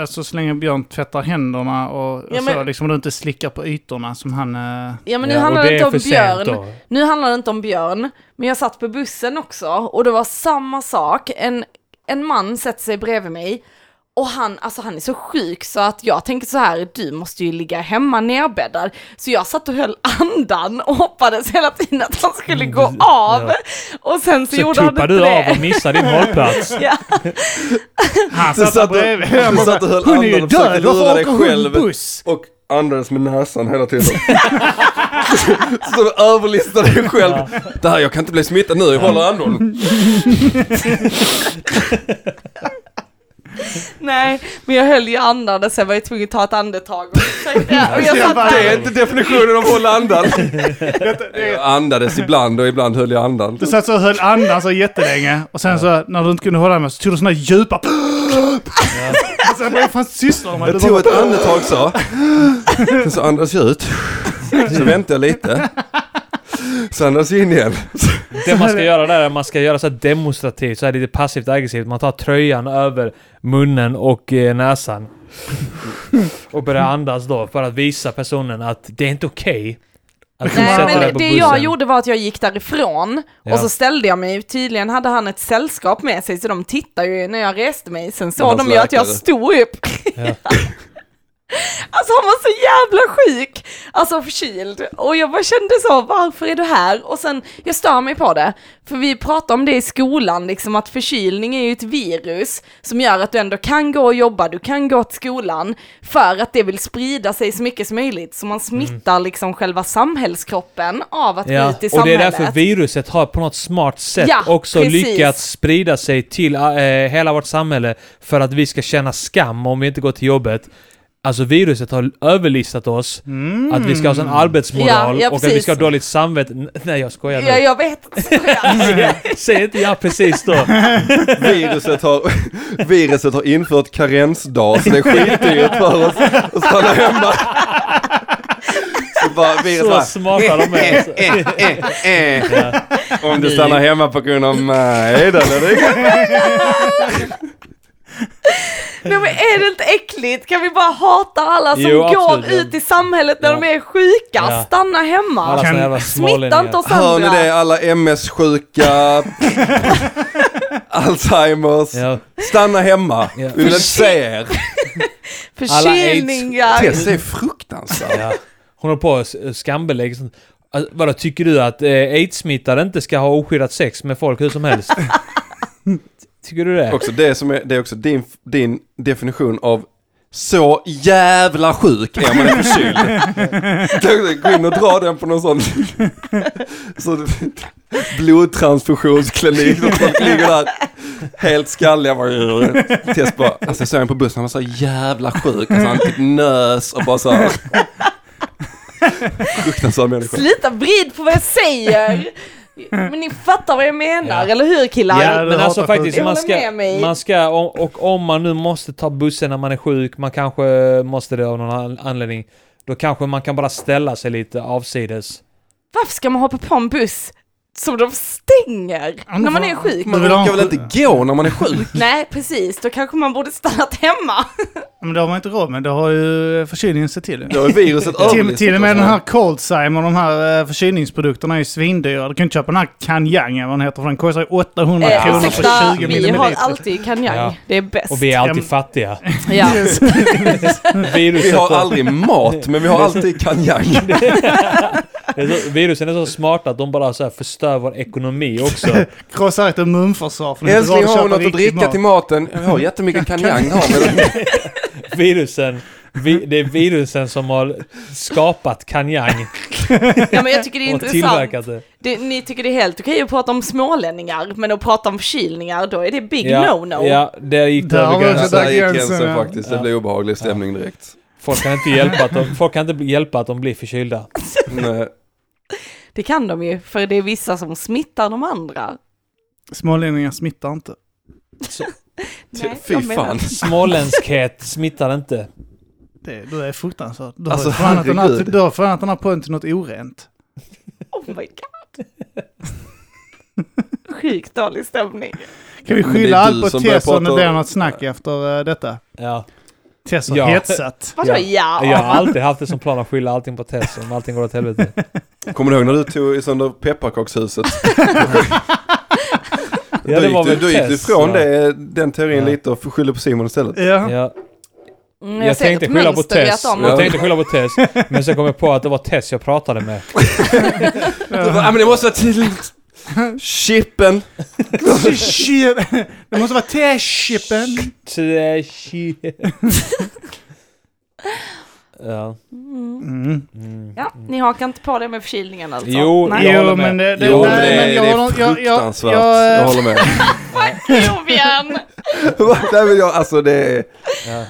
alltså, så länge Björn tvättar händerna och, Ja, och men- så, liksom och du inte slickar på ytorna som han... eh, Ja men nu Ja, och handlar det det inte är om för sent Björn. då. Nu handlar det inte om Björn, men jag satt på bussen också och det var samma sak. En, en man sätter sig bredvid mig och han, alltså han är så sjuk så att jag tänkte så här, du måste ju ligga hemma nerbäddad. Så jag satt och höll andan och hoppades hela tiden att han skulle gå av. Och sen så, Mm, Så gjorde han inte tuppar du det. av och missar din hållplats. Ja. Han Du satt där satt och, bredvid. du satt och höll Hon är ju andan och försökte död, lura varför dig åker hon själv. buss? Och andades med näsan hela tiden. Så du överlistar dig själv. Det här, jag kan inte bli smittad nu, jag håller andan. Nej, men jag höll ju andan och sen var jag tvungen att ta ett andetag. Och, och jag satt där. Det är inte definitionen av hålla andan. Jag andades ibland och ibland höll jag andan. Du satt så och höll andan så jättelänge och sen så när du inte kunde hålla med så tog du såna här djupa... Och sen bara, vad fan sysslar man? Jag Du tog bara, ett andetag så. Sen så andades jag ut. Så väntade jag lite. Så andades jag in igen. Det man ska göra där är att man ska göra så här demonstrativt, så här lite passivt aggressivt. Man tar tröjan över munnen och eh, näsan. Och börjar andas då för att visa personen att det är inte okej. att du Nej, sätter dig men på det bussen. jag gjorde var att jag gick därifrån Ja. och så ställde jag mig. Tydligen hade han ett sällskap med sig så de tittade ju när jag reste mig. Sen såg Hans de ju att jag läkare. stod upp. Ja. Alltså han var så jävla sjuk, alltså förkyld. Och jag bara kände så, varför är du här? Och sen, jag stör mig på det. För vi pratade om det i skolan, liksom att förkylning är ju ett virus som gör att du ändå kan gå och jobba, du kan gå till skolan, för att det vill sprida sig så mycket som möjligt. Så man smittar liksom själva samhällskroppen av att gå Ja, ut i och det är samhället. därför viruset har på något smart sätt Ja, också precis. lyckats sprida sig till eh, hela vårt samhälle för att vi ska känna skam om vi inte går till jobbet. Alltså viruset har överlistat oss, att vi ska ha sån arbetsmoral Mm. Ja, ja, och att vi precis. ska ha dåligt samvete. N- Nej jag skojar nu. Ja, jag vet. Säg inte ja precis då. Viruset har, viruset har infört karensdag så det är skitdyrt för oss att stanna hemma. Så bara viruset Så bara, Eh, smarta de är. alltså. Om du stannar hemma på grund av mig då eller det? Nej men är det inte äckligt? Kan vi bara hata alla som Jo, går absolut, ja. ut i samhället när Ja. de är sjuka? Ja. Stanna hemma! Alla såna Kan- jävla Smitta inte smålänningar. oss Hör ni andra! det? Alla MS-sjuka, Alzheimers. Ja. Stanna hemma, vi Ja. vill inte se er. Förkylningar! Tess är fruktansvärt. Ja. Hon håller på och s- skambelägger sånt. Alltså, vadå, tycker du att eh, aidssmittade inte ska ha oskyddat sex med folk hur som helst? tycker du det? Också det, som är, det är också din, din definition av så jävla sjuk är man en förkyld. Kan du Gå in och dra den på någon sån så, blodtransfusionsklinik. Och folk ligger där helt skalliga. bara- Tess bara, alltså jag såg honom på bussen, han var så jävla sjuk. Alltså han typ nös och bara så här. Fruktansvärd människa. Sluta vrid på vad jag säger! Men ni fattar vad jag menar, Ja. eller hur killar? Ja, det men hatar alltså sjukt. faktiskt, Jag man håller ska, med mig. man ska och, och om man nu måste ta bussen när man är sjuk, man kanske måste det av någon an- anledning, då kanske man kan bara ställa sig lite avsides. Varför ska man hoppa på en buss som de stänger men när man vad- är sjuk? men- Man orkar väl inte gå när man är sjuk? Nej, precis, då kanske man borde stannat hemma. Men det har man inte råd med, det har ju förkylningen sett till. Då är viruset Till, överlistat till och med alltså. den här Coldzyme och de här eh, förkylningsprodukterna är ju svindyra. Du kan inte köpa den här Kanyang eller vad den heter för den kostar ju 800 Eh, kronor ursäkta, för 20 vi har milliliter. alltid kanjang. Ja. Det är bäst. Och vi är Ja, men- alltid fattiga. ja. Vi Viruset har så- aldrig mat, men vi har alltid kanjang. det är så, virusen är så smarta att de bara så här förstör vår ekonomi också. Krossar ett immunförsvar för det är inte Älskling, råd att har hon köpa något att riktig dricka mat. till maten? Jag har jättemycket kanjang här. Men Virusen Vi, det är virusen som har skapat Kanyang Ja, men jag tycker det är och intressant. tillverkat det. Det, ni tycker det är helt okej att prata om smålänningar, men att prata om förkylningar, då är det big no-no. Ja, det gick det Där över var det. gränsen. Alltså, Där gick gränsen, gränsen ja. faktiskt. Det Ja. blev obehaglig stämning direkt. Folk kan inte hjälpa att de, folk kan inte hjälpa att de blir förkylda. Nej. Det kan de ju, för det är vissa som smittar de andra. Smålänningar smittar inte. Nej, Fy jag menar- fan. Småländskhet smittar inte. Det, då är det fruktansvärt. Då Alltså, har fan att den här- herregud. då har fan att den här podden till något orent. Oh my god. Sjukt dålig stämning. Kan vi Men det är skylla du allt på som börjar Tess om det prata- blir något snack efter eh, detta? Ja. Tess har Ja. hetsat. Vadå Ja. ja? Jag har alltid haft det som plan att skylla allting på Tess om allting går åt helvete. Kommer du ihåg när du tog sönder pepparkakshuset? Ja, det Då var gick du- väl Då gick du Tess, ifrån ja. det, eh, den teorin Ja. lite och skyllde på Simon istället. Ja. Ja. Mm, Jag, ser tänkte ett skylla på mönster i att Tess. de- Ja. Jag tänkte skylla på Tess. Men sen kom jag på att det var Tess jag pratade med. Du bara, "Ah, men det måste vara tydligt. Chippen. Det måste vara Tess-chippen. Trashy. ja. Mm. Mm. Mm. Ja, ni hakar inte på det med förkylningen alltså? Jo, Nej. jag Jo, håller med. men det... det Jo, men nej, det, men jag det är håller- jag- jag- fruktansvärt. Jag, jag, eh, håller med. Jo, igen. Nej, men jag, alltså det är... Ja.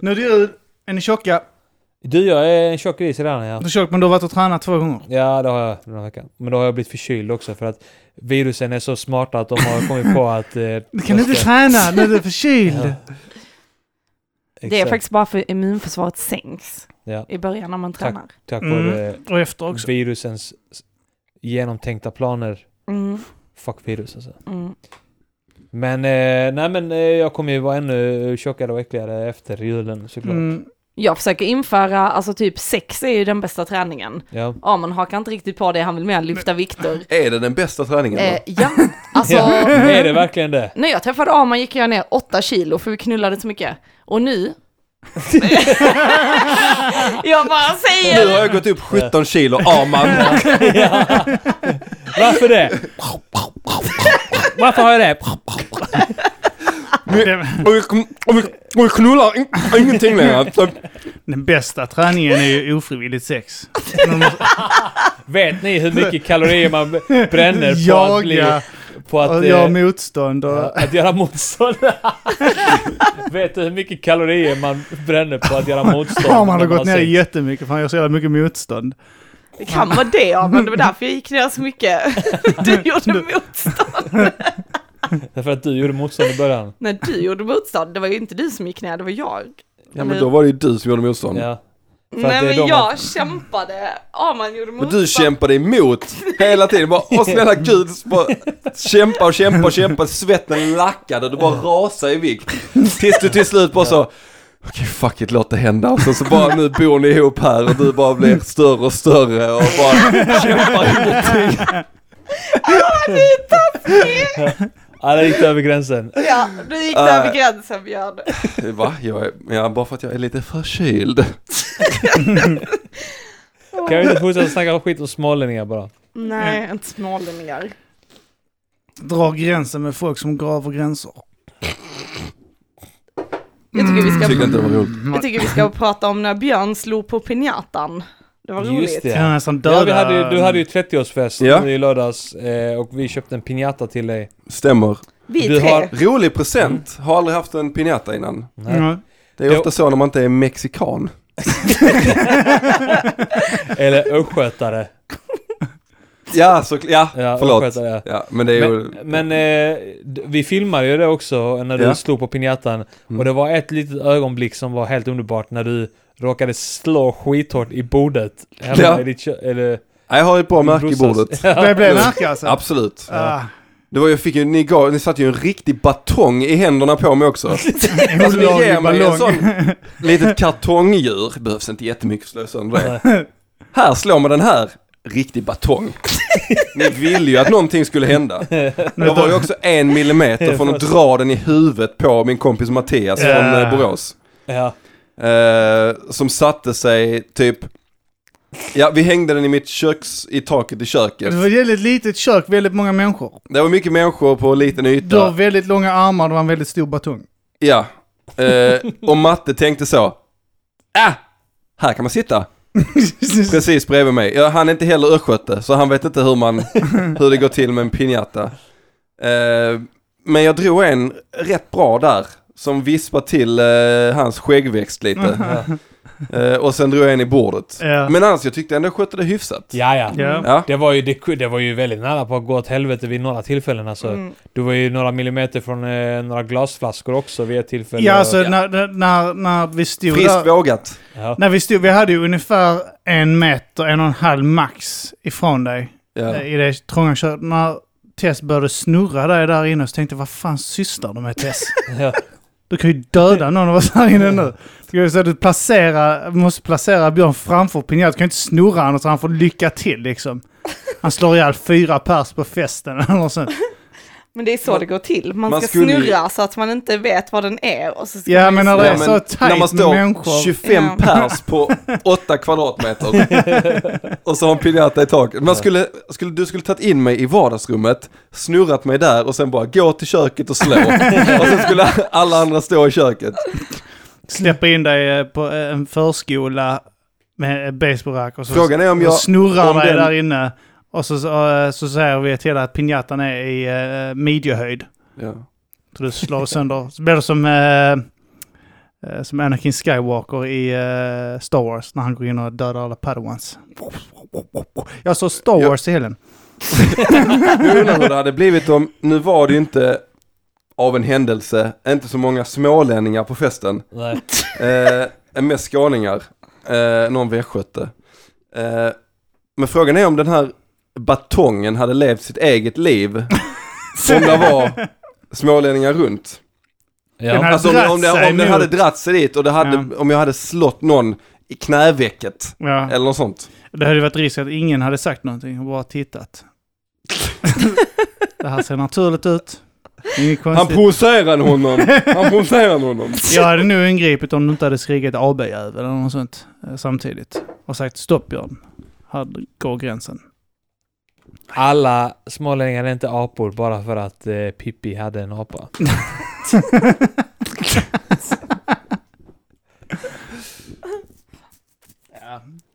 Nu är det du, är ni tjocka? Du, jag är en tjock gris redan ja. Du är tjock, men du har varit och tränat två gånger. Ja, det har jag den här veckan. Men då har jag blivit förkyld också för att virusen är så smarta att de har kommit på att... Eh, Du kan inte träna när du är förkyld. Det är faktiskt bara för immunförsvaret sänks Ja, i början när man tränar. tack Mm. vare Och efter också. virusens s- genomtänkta planer. Mm, Fuck virus alltså. mm. Men, eh, nej men eh, jag kommer ju vara ännu tjockare och äckligare efter julen såklart. Mm. Jag försöker införa, alltså typ sex är ju den bästa träningen. Ja. Ja, man hakar inte riktigt på det, han vill mer lyfta vikter. Är det den bästa träningen? Eh, då? ja, alltså. ja. Är det verkligen det? När jag träffade Arman gick jag ner åtta kilo för vi knullade så mycket. Och nu... jag bara säger Nu har jag gått upp 17 kilo. Ja, man. Ja. Varför det? Varför har jag det? Och vi, och vi, och vi knullar in, ingenting längre. Så, Den bästa träningen är ju ofrivilligt sex. Man måste Vet ni hur mycket kalorier man bränner på att, bli, jaga på att, och eh, göra motstånd och... ja, att göra motstånd? Vet du hur mycket kalorier man bränner på att göra motstånd? Ja, man när har gått ner sex? jättemycket för han gör så jävla mycket motstånd. det kan vara det Arman, det var därför jag gick ner så mycket. Du gjorde motstånd. Därför att du gjorde motstånd i början. När du gjorde motstånd, det var ju inte du som gick ner, det var jag. ja, men då var det ju du som gjorde motstånd. Ja. För att Nej det är de men jag kämpade, Arman gjorde Och motstånd. du kämpade emot hela tiden. Bara, åh snälla gud. Bara, kämpa och kämpa och kämpa. Svetten lackade. Du bara rasade i vikt. Tills du till slut bara så. Okej fuck it, låt det hända. Och så, så bara nu bor ni ihop här och du bara blir större och större och bara kämpar emot dig. Ja, det gick över gränsen. Ja, du gick Äh. det över gränsen Björn. Va? Jag är, ja, bara för att jag är lite förkyld. Kan vi inte fortsätta snacka skit om smålänningar bara? Nej, inte smålänningar. Dra gränsen med folk som går över gränser. Jag tycker vi ska, Tyckte inte det var roligt. Mm. jag tycker vi ska prata om när Björn slog på pinjatan. Det var roligt. Just Jag kan det. nästan döda... Ja, vi hade ju, du hade ju 30-årsfest Ja. nu i lördags eh, och vi köpte en piñata till dig. Stämmer. Vi Du tre. har- Rolig present. Har aldrig haft en piñata innan. Nej. Ja. Det är ofta så när man inte är mexikan. Eller östgötare. Ja, så, ja, Ja, förlåt. östgötare, ja. Ja, men det är ju... Men, men eh, d- vi filmade ju det också när du Ja. Mm. slog på pinjatan. Och det var ett litet ögonblick som var helt underbart när du råkade slå skithårt i bordet. Hemma Ja. i ditt kö- eller, Nej, Jag har ett bra märke i brorsas. bordet. Det blev märke alltså. Absolut. Ah, Det var, jag fick ju, ni, gav, ni satte ju en riktig batong i händerna på mig också. alltså ni olaglig ger mig en ballong. sån litet kartongdjur. Behövs inte jättemycket för att slå sönder det. Här slår man den här. Riktig batong. ni ville ju att någonting skulle hända. Jag var ju också en millimeter från att dra den i huvudet på min kompis Mattias Ja. från eh, Borås. ja. Eh, som satte sig typ... Ja, vi hängde den i mitt köks... i taket i köket. Det var ett väldigt litet kök, väldigt många människor. Det var mycket människor på liten Du har yta. väldigt långa armar, du har en väldigt stor batong. Ja. Eh, och matte tänkte så. Ah! Här kan man sitta. Precis bredvid mig. Ja, han är inte heller östgöte, så han vet inte hur, man, hur det går till med en pinjata. Eh, men jag drog en rätt bra där, som vispar till eh, hans skäggväxt lite. Eh, och sen drog jag en i bordet. Ja. Men annars, jag tyckte ändå jag skötte det hyfsat. Ja, ja. Ja. Ja. Det var, ju, det, det var ju väldigt nära på att gå åt helvete vid några tillfällen alltså. Mm. Du var ju några millimeter från eh, några glasflaskor också vid ett tillfälle. Ja, alltså ja. när, när- när, när vi stod Friskt där. vågat. Ja. När vi stod, vi hade ju ungefär en meter, en och en halv max ifrån dig. Ja. eh, I det trånga köret. När Tess började snurra dig där inne så tänkte jag, vad fan sysslar du med Tess? Ja. Du kan ju döda någon av oss här inne nu. Ska vi säga att du placera, måste placera Björn framför Pinjat. Du kan ju inte snurra honom så han får lycka till liksom. Han slår ihjäl fyra pers på festen eller något sånt. Men det är så det går till. Man, man ska skulle ju- snurra så att man inte vet vad den är. Och så ska Ja man liksom- men när det Ja, är men så tajt när man med står människor. 25 Ja. pers på 8 kvadratmeter och så har en pinjata i taket. Man skulle, skulle, du skulle tagit in mig i vardagsrummet, snurrat mig där och sen bara gå till köket och slå. och sen skulle alla andra stå i köket. Släpper in dig eh, på eh, en förskola med eh, basebollrack och så Frågan är om och jag... snurrar om dig den- där inne. Och så, så, eh, så säger vi till att pinjatan är i eh, midjehöjd. Ja. Så du slår sönder. Så blir det som, eh, eh, som Anakin Skywalker i eh, Star Wars när han går in och dödar alla padawans. Jag såg Star Ja. Wars i helgen. Jag undrar hur det hade blivit om, nu var det ju inte av en händelse, inte så många smålänningar på festen. Nej. Eh, mest skåningar. Eh, någon västgöte. Eh, men frågan är om den här batongen hade levt sitt eget liv. om det var smålänningar runt. Ja. Den här- Alltså om, om, det, sig om den hade mot- dratt sig dit och det hade, om jag hade slått någon i knävecket. Ja. Eller något sånt. Det hade ju varit risk att ingen hade sagt någonting och bara tittat. det här ser naturligt ut. Inget Han konstigt. provocerade honom. Han provocerade honom. Jag hade nog ingripit om du inte hade skrikit AB-jävel eller något sånt eh, samtidigt. Och sagt stopp Björn. Här går gränsen. Alla smålänningar är inte apor bara för att eh, Pippi hade en apa.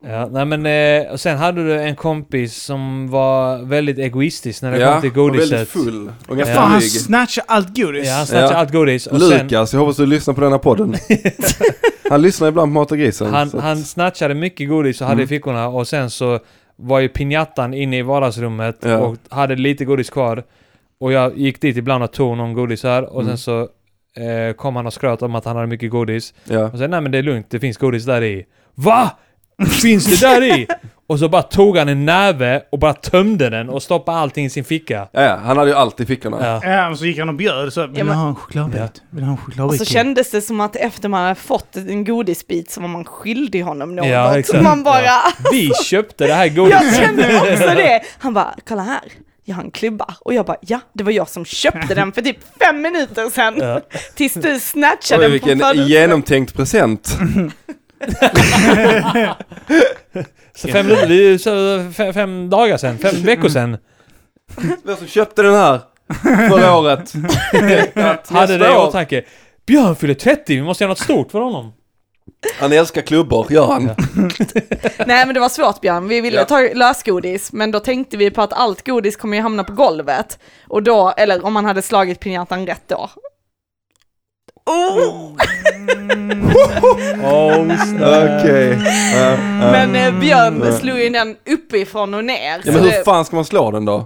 Ja, nej men, eh, och sen hade du en kompis som var väldigt egoistisk när det kom till och godiset. väldigt full. Och ganska Fan, han blyg. snatchar allt godis. Ja, han snatchade Ja. allt godis. Och sen, Lukas, jag hoppas du lyssnar på denna podden. Han lyssnar ibland på Mata Grisen. han, så att- han snatchade mycket godis och hade i Mm. fickorna och sen så var ju pinjattan inne i vardagsrummet Ja. och hade lite godis kvar. Och jag gick dit ibland och tog någon godis här och sen Mm. så eh, kom han och skröt om att han hade mycket godis. ja. Och sen nej men det är lugnt, det finns godis där i. VA? Finns det där i? Och så bara tog han en näve och bara tömde den och stoppade allting i sin ficka. Ja, ja, han hade ju allt i fickorna. Ja. Ja, och så gick han och bjöd så. Vill du Ja, men- Alltså, ha en chokladbit? Vill du ha en Och chokladbit? så kändes det som att efter man hade fått en godisbit så var man skyldig honom något. Ja, exakt. man bara, Ja. Vi köpte det här jag godiset. kände också det. Han bara, kolla här, jag har en klubba. Och jag bara, ja, det var jag som köpte den för typ fem minuter sedan. Ja. Tills du Oj, snatchade den vilken från födelsedagen. genomtänkt present. Så fem, minuter, det är ju så fem, fem dagar sedan, Mm. fem veckor sedan. Vem som köpte den här förra året? Att Hade nästa det i år- åtanke. Björn fyller 30, vi måste göra något stort för honom. Han älskar klubbor, gör han. Nej men det var svårt Björn, vi ville Ja. ta lösgodis men då tänkte vi på att allt godis kommer ju hamna på golvet. Och då, eller om man hade slagit pinjatan rätt då. Oh! Oh, Okej. Ja, ja. Men eh, Björn slog ju den uppifrån och ner. Mm. Ja, så men hur det- fan ska man slå den Eh, då?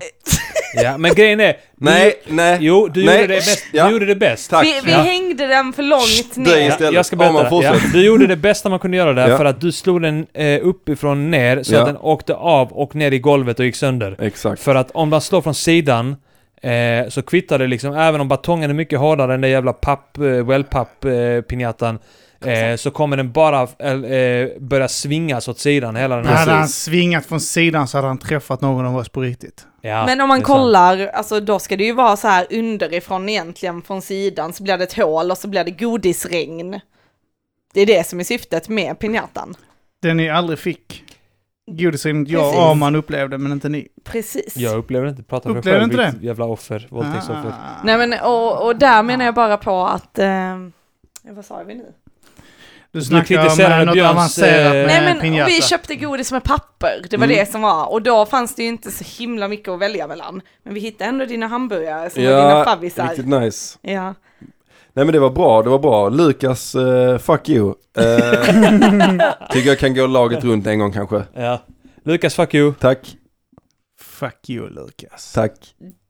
ja, men grejen är... du- Nej, nej. Jo, du nej. gjorde det bäst. Ja. Du gjorde det bäst. Tack. vi vi Ja. hängde den för långt det är ner. just- istället. Jag ska Ja, berätta. men Ja, fortsätt. du gjorde det bästa man kunde göra där Ja. för att du slog den eh, uppifrån ner så Ja. att den åkte av och ner i golvet och gick sönder. Exakt. För att om man slår från sidan eh, så kvittar det liksom, även om batongen är mycket hårdare än den jävla papp, eh, wellpapp eh, pinjatan eh, så kommer den bara eh, eh, börja svingas åt sidan hela den här... Hade han Precis. svingat från sidan så hade han träffat någon av oss på riktigt. Ja, Men om det man är sant. kollar, alltså då ska det ju vara så här underifrån egentligen från sidan så blir det ett hål och så blir det godisregn. Det är det som är syftet med pinjatan. Den ni aldrig fick. Godisen jag Precis. och Arman upplevde men inte ni. Precis. Jag upplever inte, prata för mig Upplever själv, inte Ah. ditt jävla offer, våldtäktsoffer. Nej men och, och där menar jag bara på att, eh, vad sa vi nu? Du snackar om kritiserade eh, något Björns, avancerat eh, Mm. med Nej men pinjata. vi köpte godis med papper, det var det som var. Och då fanns det ju inte så himla mycket att välja mellan. Men vi hittade ändå dina hamburgare som var dina favvisar. riktigt nice. Ja. Nej men det var bra, det var bra. Lukas, eh, fuck you. Eh, tycker jag kan gå laget runt en gång kanske. Ja. Lukas, fuck you. Tack, Fuck you Lukas. tack.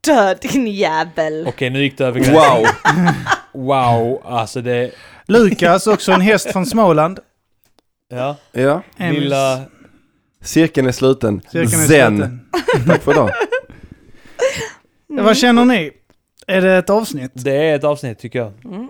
Död din jävel! Okej, nu gick det över gränsen. Wow! Wow, alltså det... Lukas, också en häst från Småland. Ja. Ja, Emils. Lilla... cirkeln är sluten. Cirkeln är Zen. sluten. Tack för idag. Ja, Vad känner ni? Är det ett avsnitt? Eh, Det är ett avsnitt tycker jag. Mm.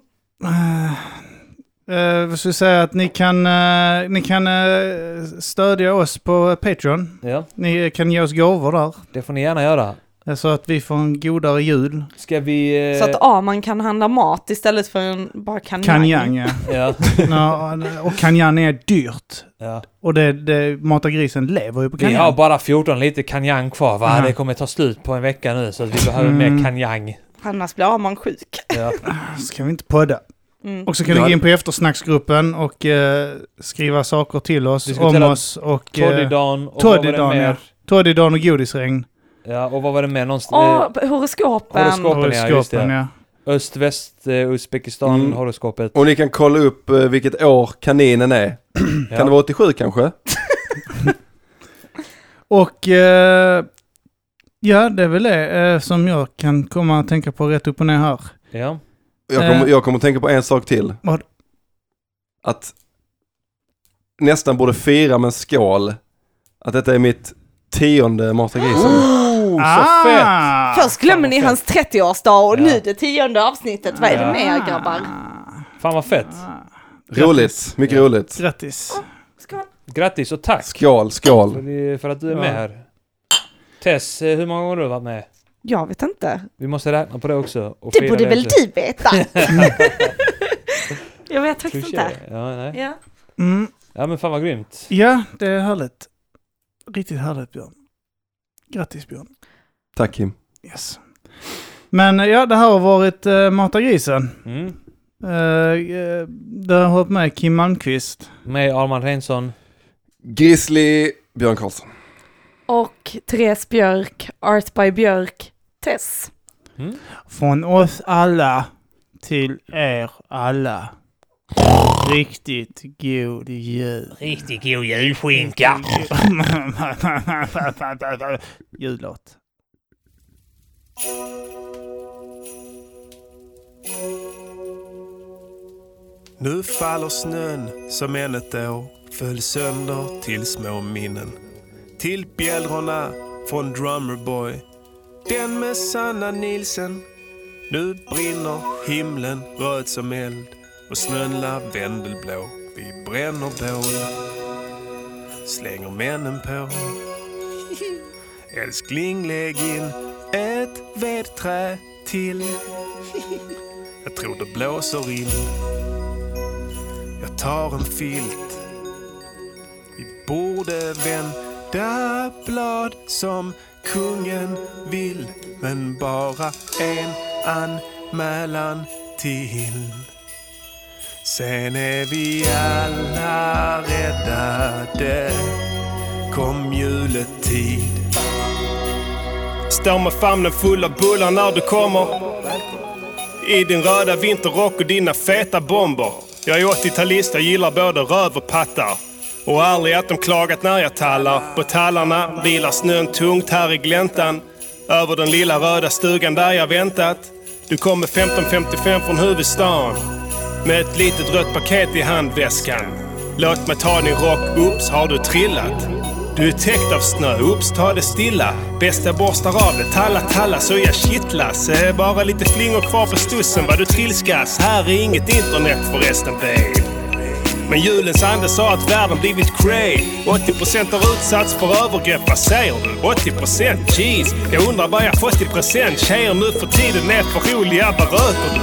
Uh, vad ska jag säga att ni kan, eh, ni kan eh, stödja oss på Patreon. Ja, Ni kan ge oss gåvor där. det får ni gärna göra. eh, Så att vi får en godare jul. Ska vi... eh, Så att Arman kan handla mat istället för en bara kanjang. Kanjang ja. Ja, Nå, eh, och kanjang är dyrt. ja. Och det, det matar grisen lever ju på Vi har kanjang. bara 14 liter kanjang kvar va? Mhm. Det kommer ta slut på en vecka nu så att vi behöver mer kanjang. Annars blir Arman sjuk. Ja. Så kan vi inte podda. Mm. Och så kan ni Ja. gå in på eftersnacksgruppen och eh, skriva saker till oss om Diskutera oss och eh, Toddydan och vad var Toddydan det ja. mer? Toddydan och godisregn. Ja, och vad var det mer? eh, Någonstans... Åh, horoskopen! horoskop. Horoskopen, ja, just det. Horoskopen, ja. Eh, öst, väst, eh, Uzbekistan, Mm. horoskopet. Och ni kan kolla upp eh, vilket år kaninen är. Ja. Kan det vara 87 kanske? Och eh, ja, det är väl det eh, som jag kan komma att tänka på rätt upp och ner här. Ja. Jag kommer, Eh. jag kommer att tänka på en sak till. Vad? Att nästan borde fira med en skål att detta är mitt tionde Mata grisen. Oh, Ah! så fett! Först glömmer ni hans 30-årsdag och Ja. nu det tionde avsnittet. Vad är det Ja. med er grabbar? Fan vad fett! Roligt, mycket roligt. Grattis. Skål. Grattis och tack! Skål, För skål. det- För att du är med Ja. här. Tess, eh, hur många gånger har du varit med? Jag vet inte. Vi måste räkna på det också. Och Det fira borde väl också. du veta? jag vet faktiskt inte. Touché. Ja, nej. Ja. Mm. ja men fan vad grymt. Ja, det är härligt. Riktigt härligt Björn. Grattis Björn. Tack Kim. Yes. Men eh, ja, det här har varit eh, Mata grisen. Mm. Eh, eh, där har jag hållit med Kim Malmqvist. Med Arman Reinsson. Grizzly Björn Karlsson. Och Therese Björk, Art by Björk, Tess. Mm. Från oss alla till er alla. Riktigt god jul. Riktigt god julskinka. Jullåt. Nu faller snön som än ett år föll sönder till små minnen. Till bjällrorna från Drummerboy. Den med Sanna Nilsen. Nu brinner himlen röd som eld och snön lavendelblå. Vi bränner bål. Slänger männen på. Älskling, lägg in ett vedträ till. Jag tror det blåser in. Jag tar en filt. Vi borde vända blad som kungen vill. Men bara en anmälan till. Sen är vi alla räddade. Kom juletid. Står med famnen full av bullar när du kommer. I din röda vinterrock och dina feta bomber. Jag är 80-talist, jag gillar både röv och pattar. Och aldrig att de klagat när jag tallar. På tallarna vilar snön tungt här i gläntan. Över den lilla röda stugan där jag väntat. Du kommer 15.55 från huvudstaden. Med ett litet rött paket i handväskan. Låt mig ta din rock, oops har du trillat. Du är täckt av snö, oops ta det stilla. Bästa borstar av det, talla talla så jag kittlas. Eh, Bara lite flingor kvar på stussen vad du trilskas. Här är inget internet förresten babe. Men julens ande sa att världen blivit cray 80% har utsatts för övergrepp, vad säger du? 80% jeez, jag undrar vad jag fått i present Tjejer nu för tiden är för roliga, vad röker du?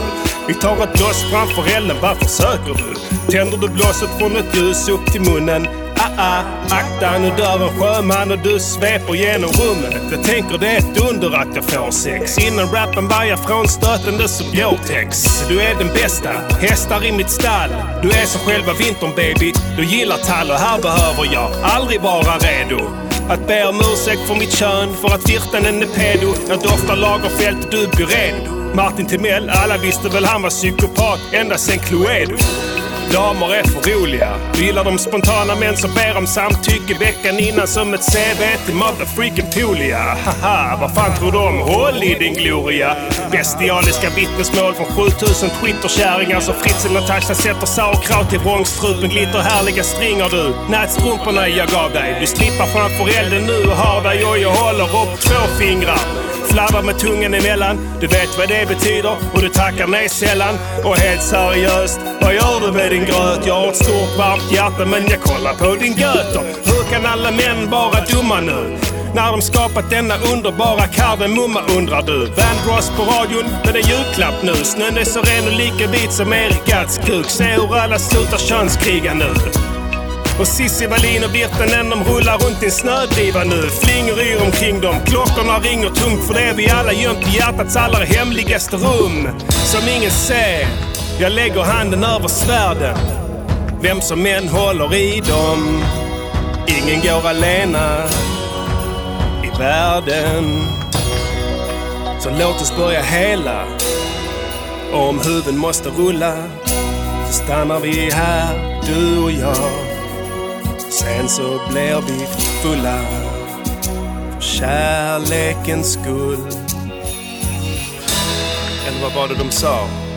Vi tar ett bloss framför elden, vad försöker du? Tänder du blåset från ett ljus upp till munnen ah, akta nu dör en sjöman och du sveper genom rummet. Jag tänker det är ett under att jag får sex. Innan rappen var jag frånstötande som Gore-Tex. Du är den bästa, hästar i mitt stall. Du är som själva vintern baby. Du gillar tall och här behöver jag aldrig vara redo. Att be om ursäkt för mitt kön, för att flirten är pedo. Jag doftar Lagerfeld och du Byredo. Martin Timell, alla visste väl han var psykopat ända sen Cluedo. Damer är för roliga. Du gillar de spontana män som ber om samtycke veckan innan som ett CV till motherfreaking Poolia. Haha, vad fan tror du om Håll i din gloria? Bestialiska vittnesmål från 7000 twitterkärringar som Fritzl och Natasha sätter sauerkraut i vrångstrupen. Glitterhärliga stringer du. Nätstrumporna jag gav dig. Du slippar framför elden nu och har dig och jag håller upp två fingrar. Fladdrar med tungan emellan. Du vet vad det betyder och du tackar nej sällan. Och helt seriöst, vad gör du med din gröt? Jag har ett stort varmt hjärta men jag kollar på din göter. Hur kan alla män vara dumma nu? När de skapat denna underbara kardemumma undrar du. Van Ross på radion med en julklapp nu. Snön är så ren och lika vit som Eric Gatts kuk. Se hur alla slutar könskriga nu. Och Cissi Wallin och Virtanen de rullar runt i en snödriva nu. Flingor yr omkring dem. Klockorna ringer tungt för det är vi alla gömt i hjärtats allra hemligaste rum. Som ingen ser. Jag lägger handen över svärden. Vem som än håller i dem. Ingen går alena i världen. Så låt oss börja hela. Och om huvuden måste rulla så stannar vi här, du och jag. Sen så blir vi fulla för kärlekens skull. Eller vad var det de sa?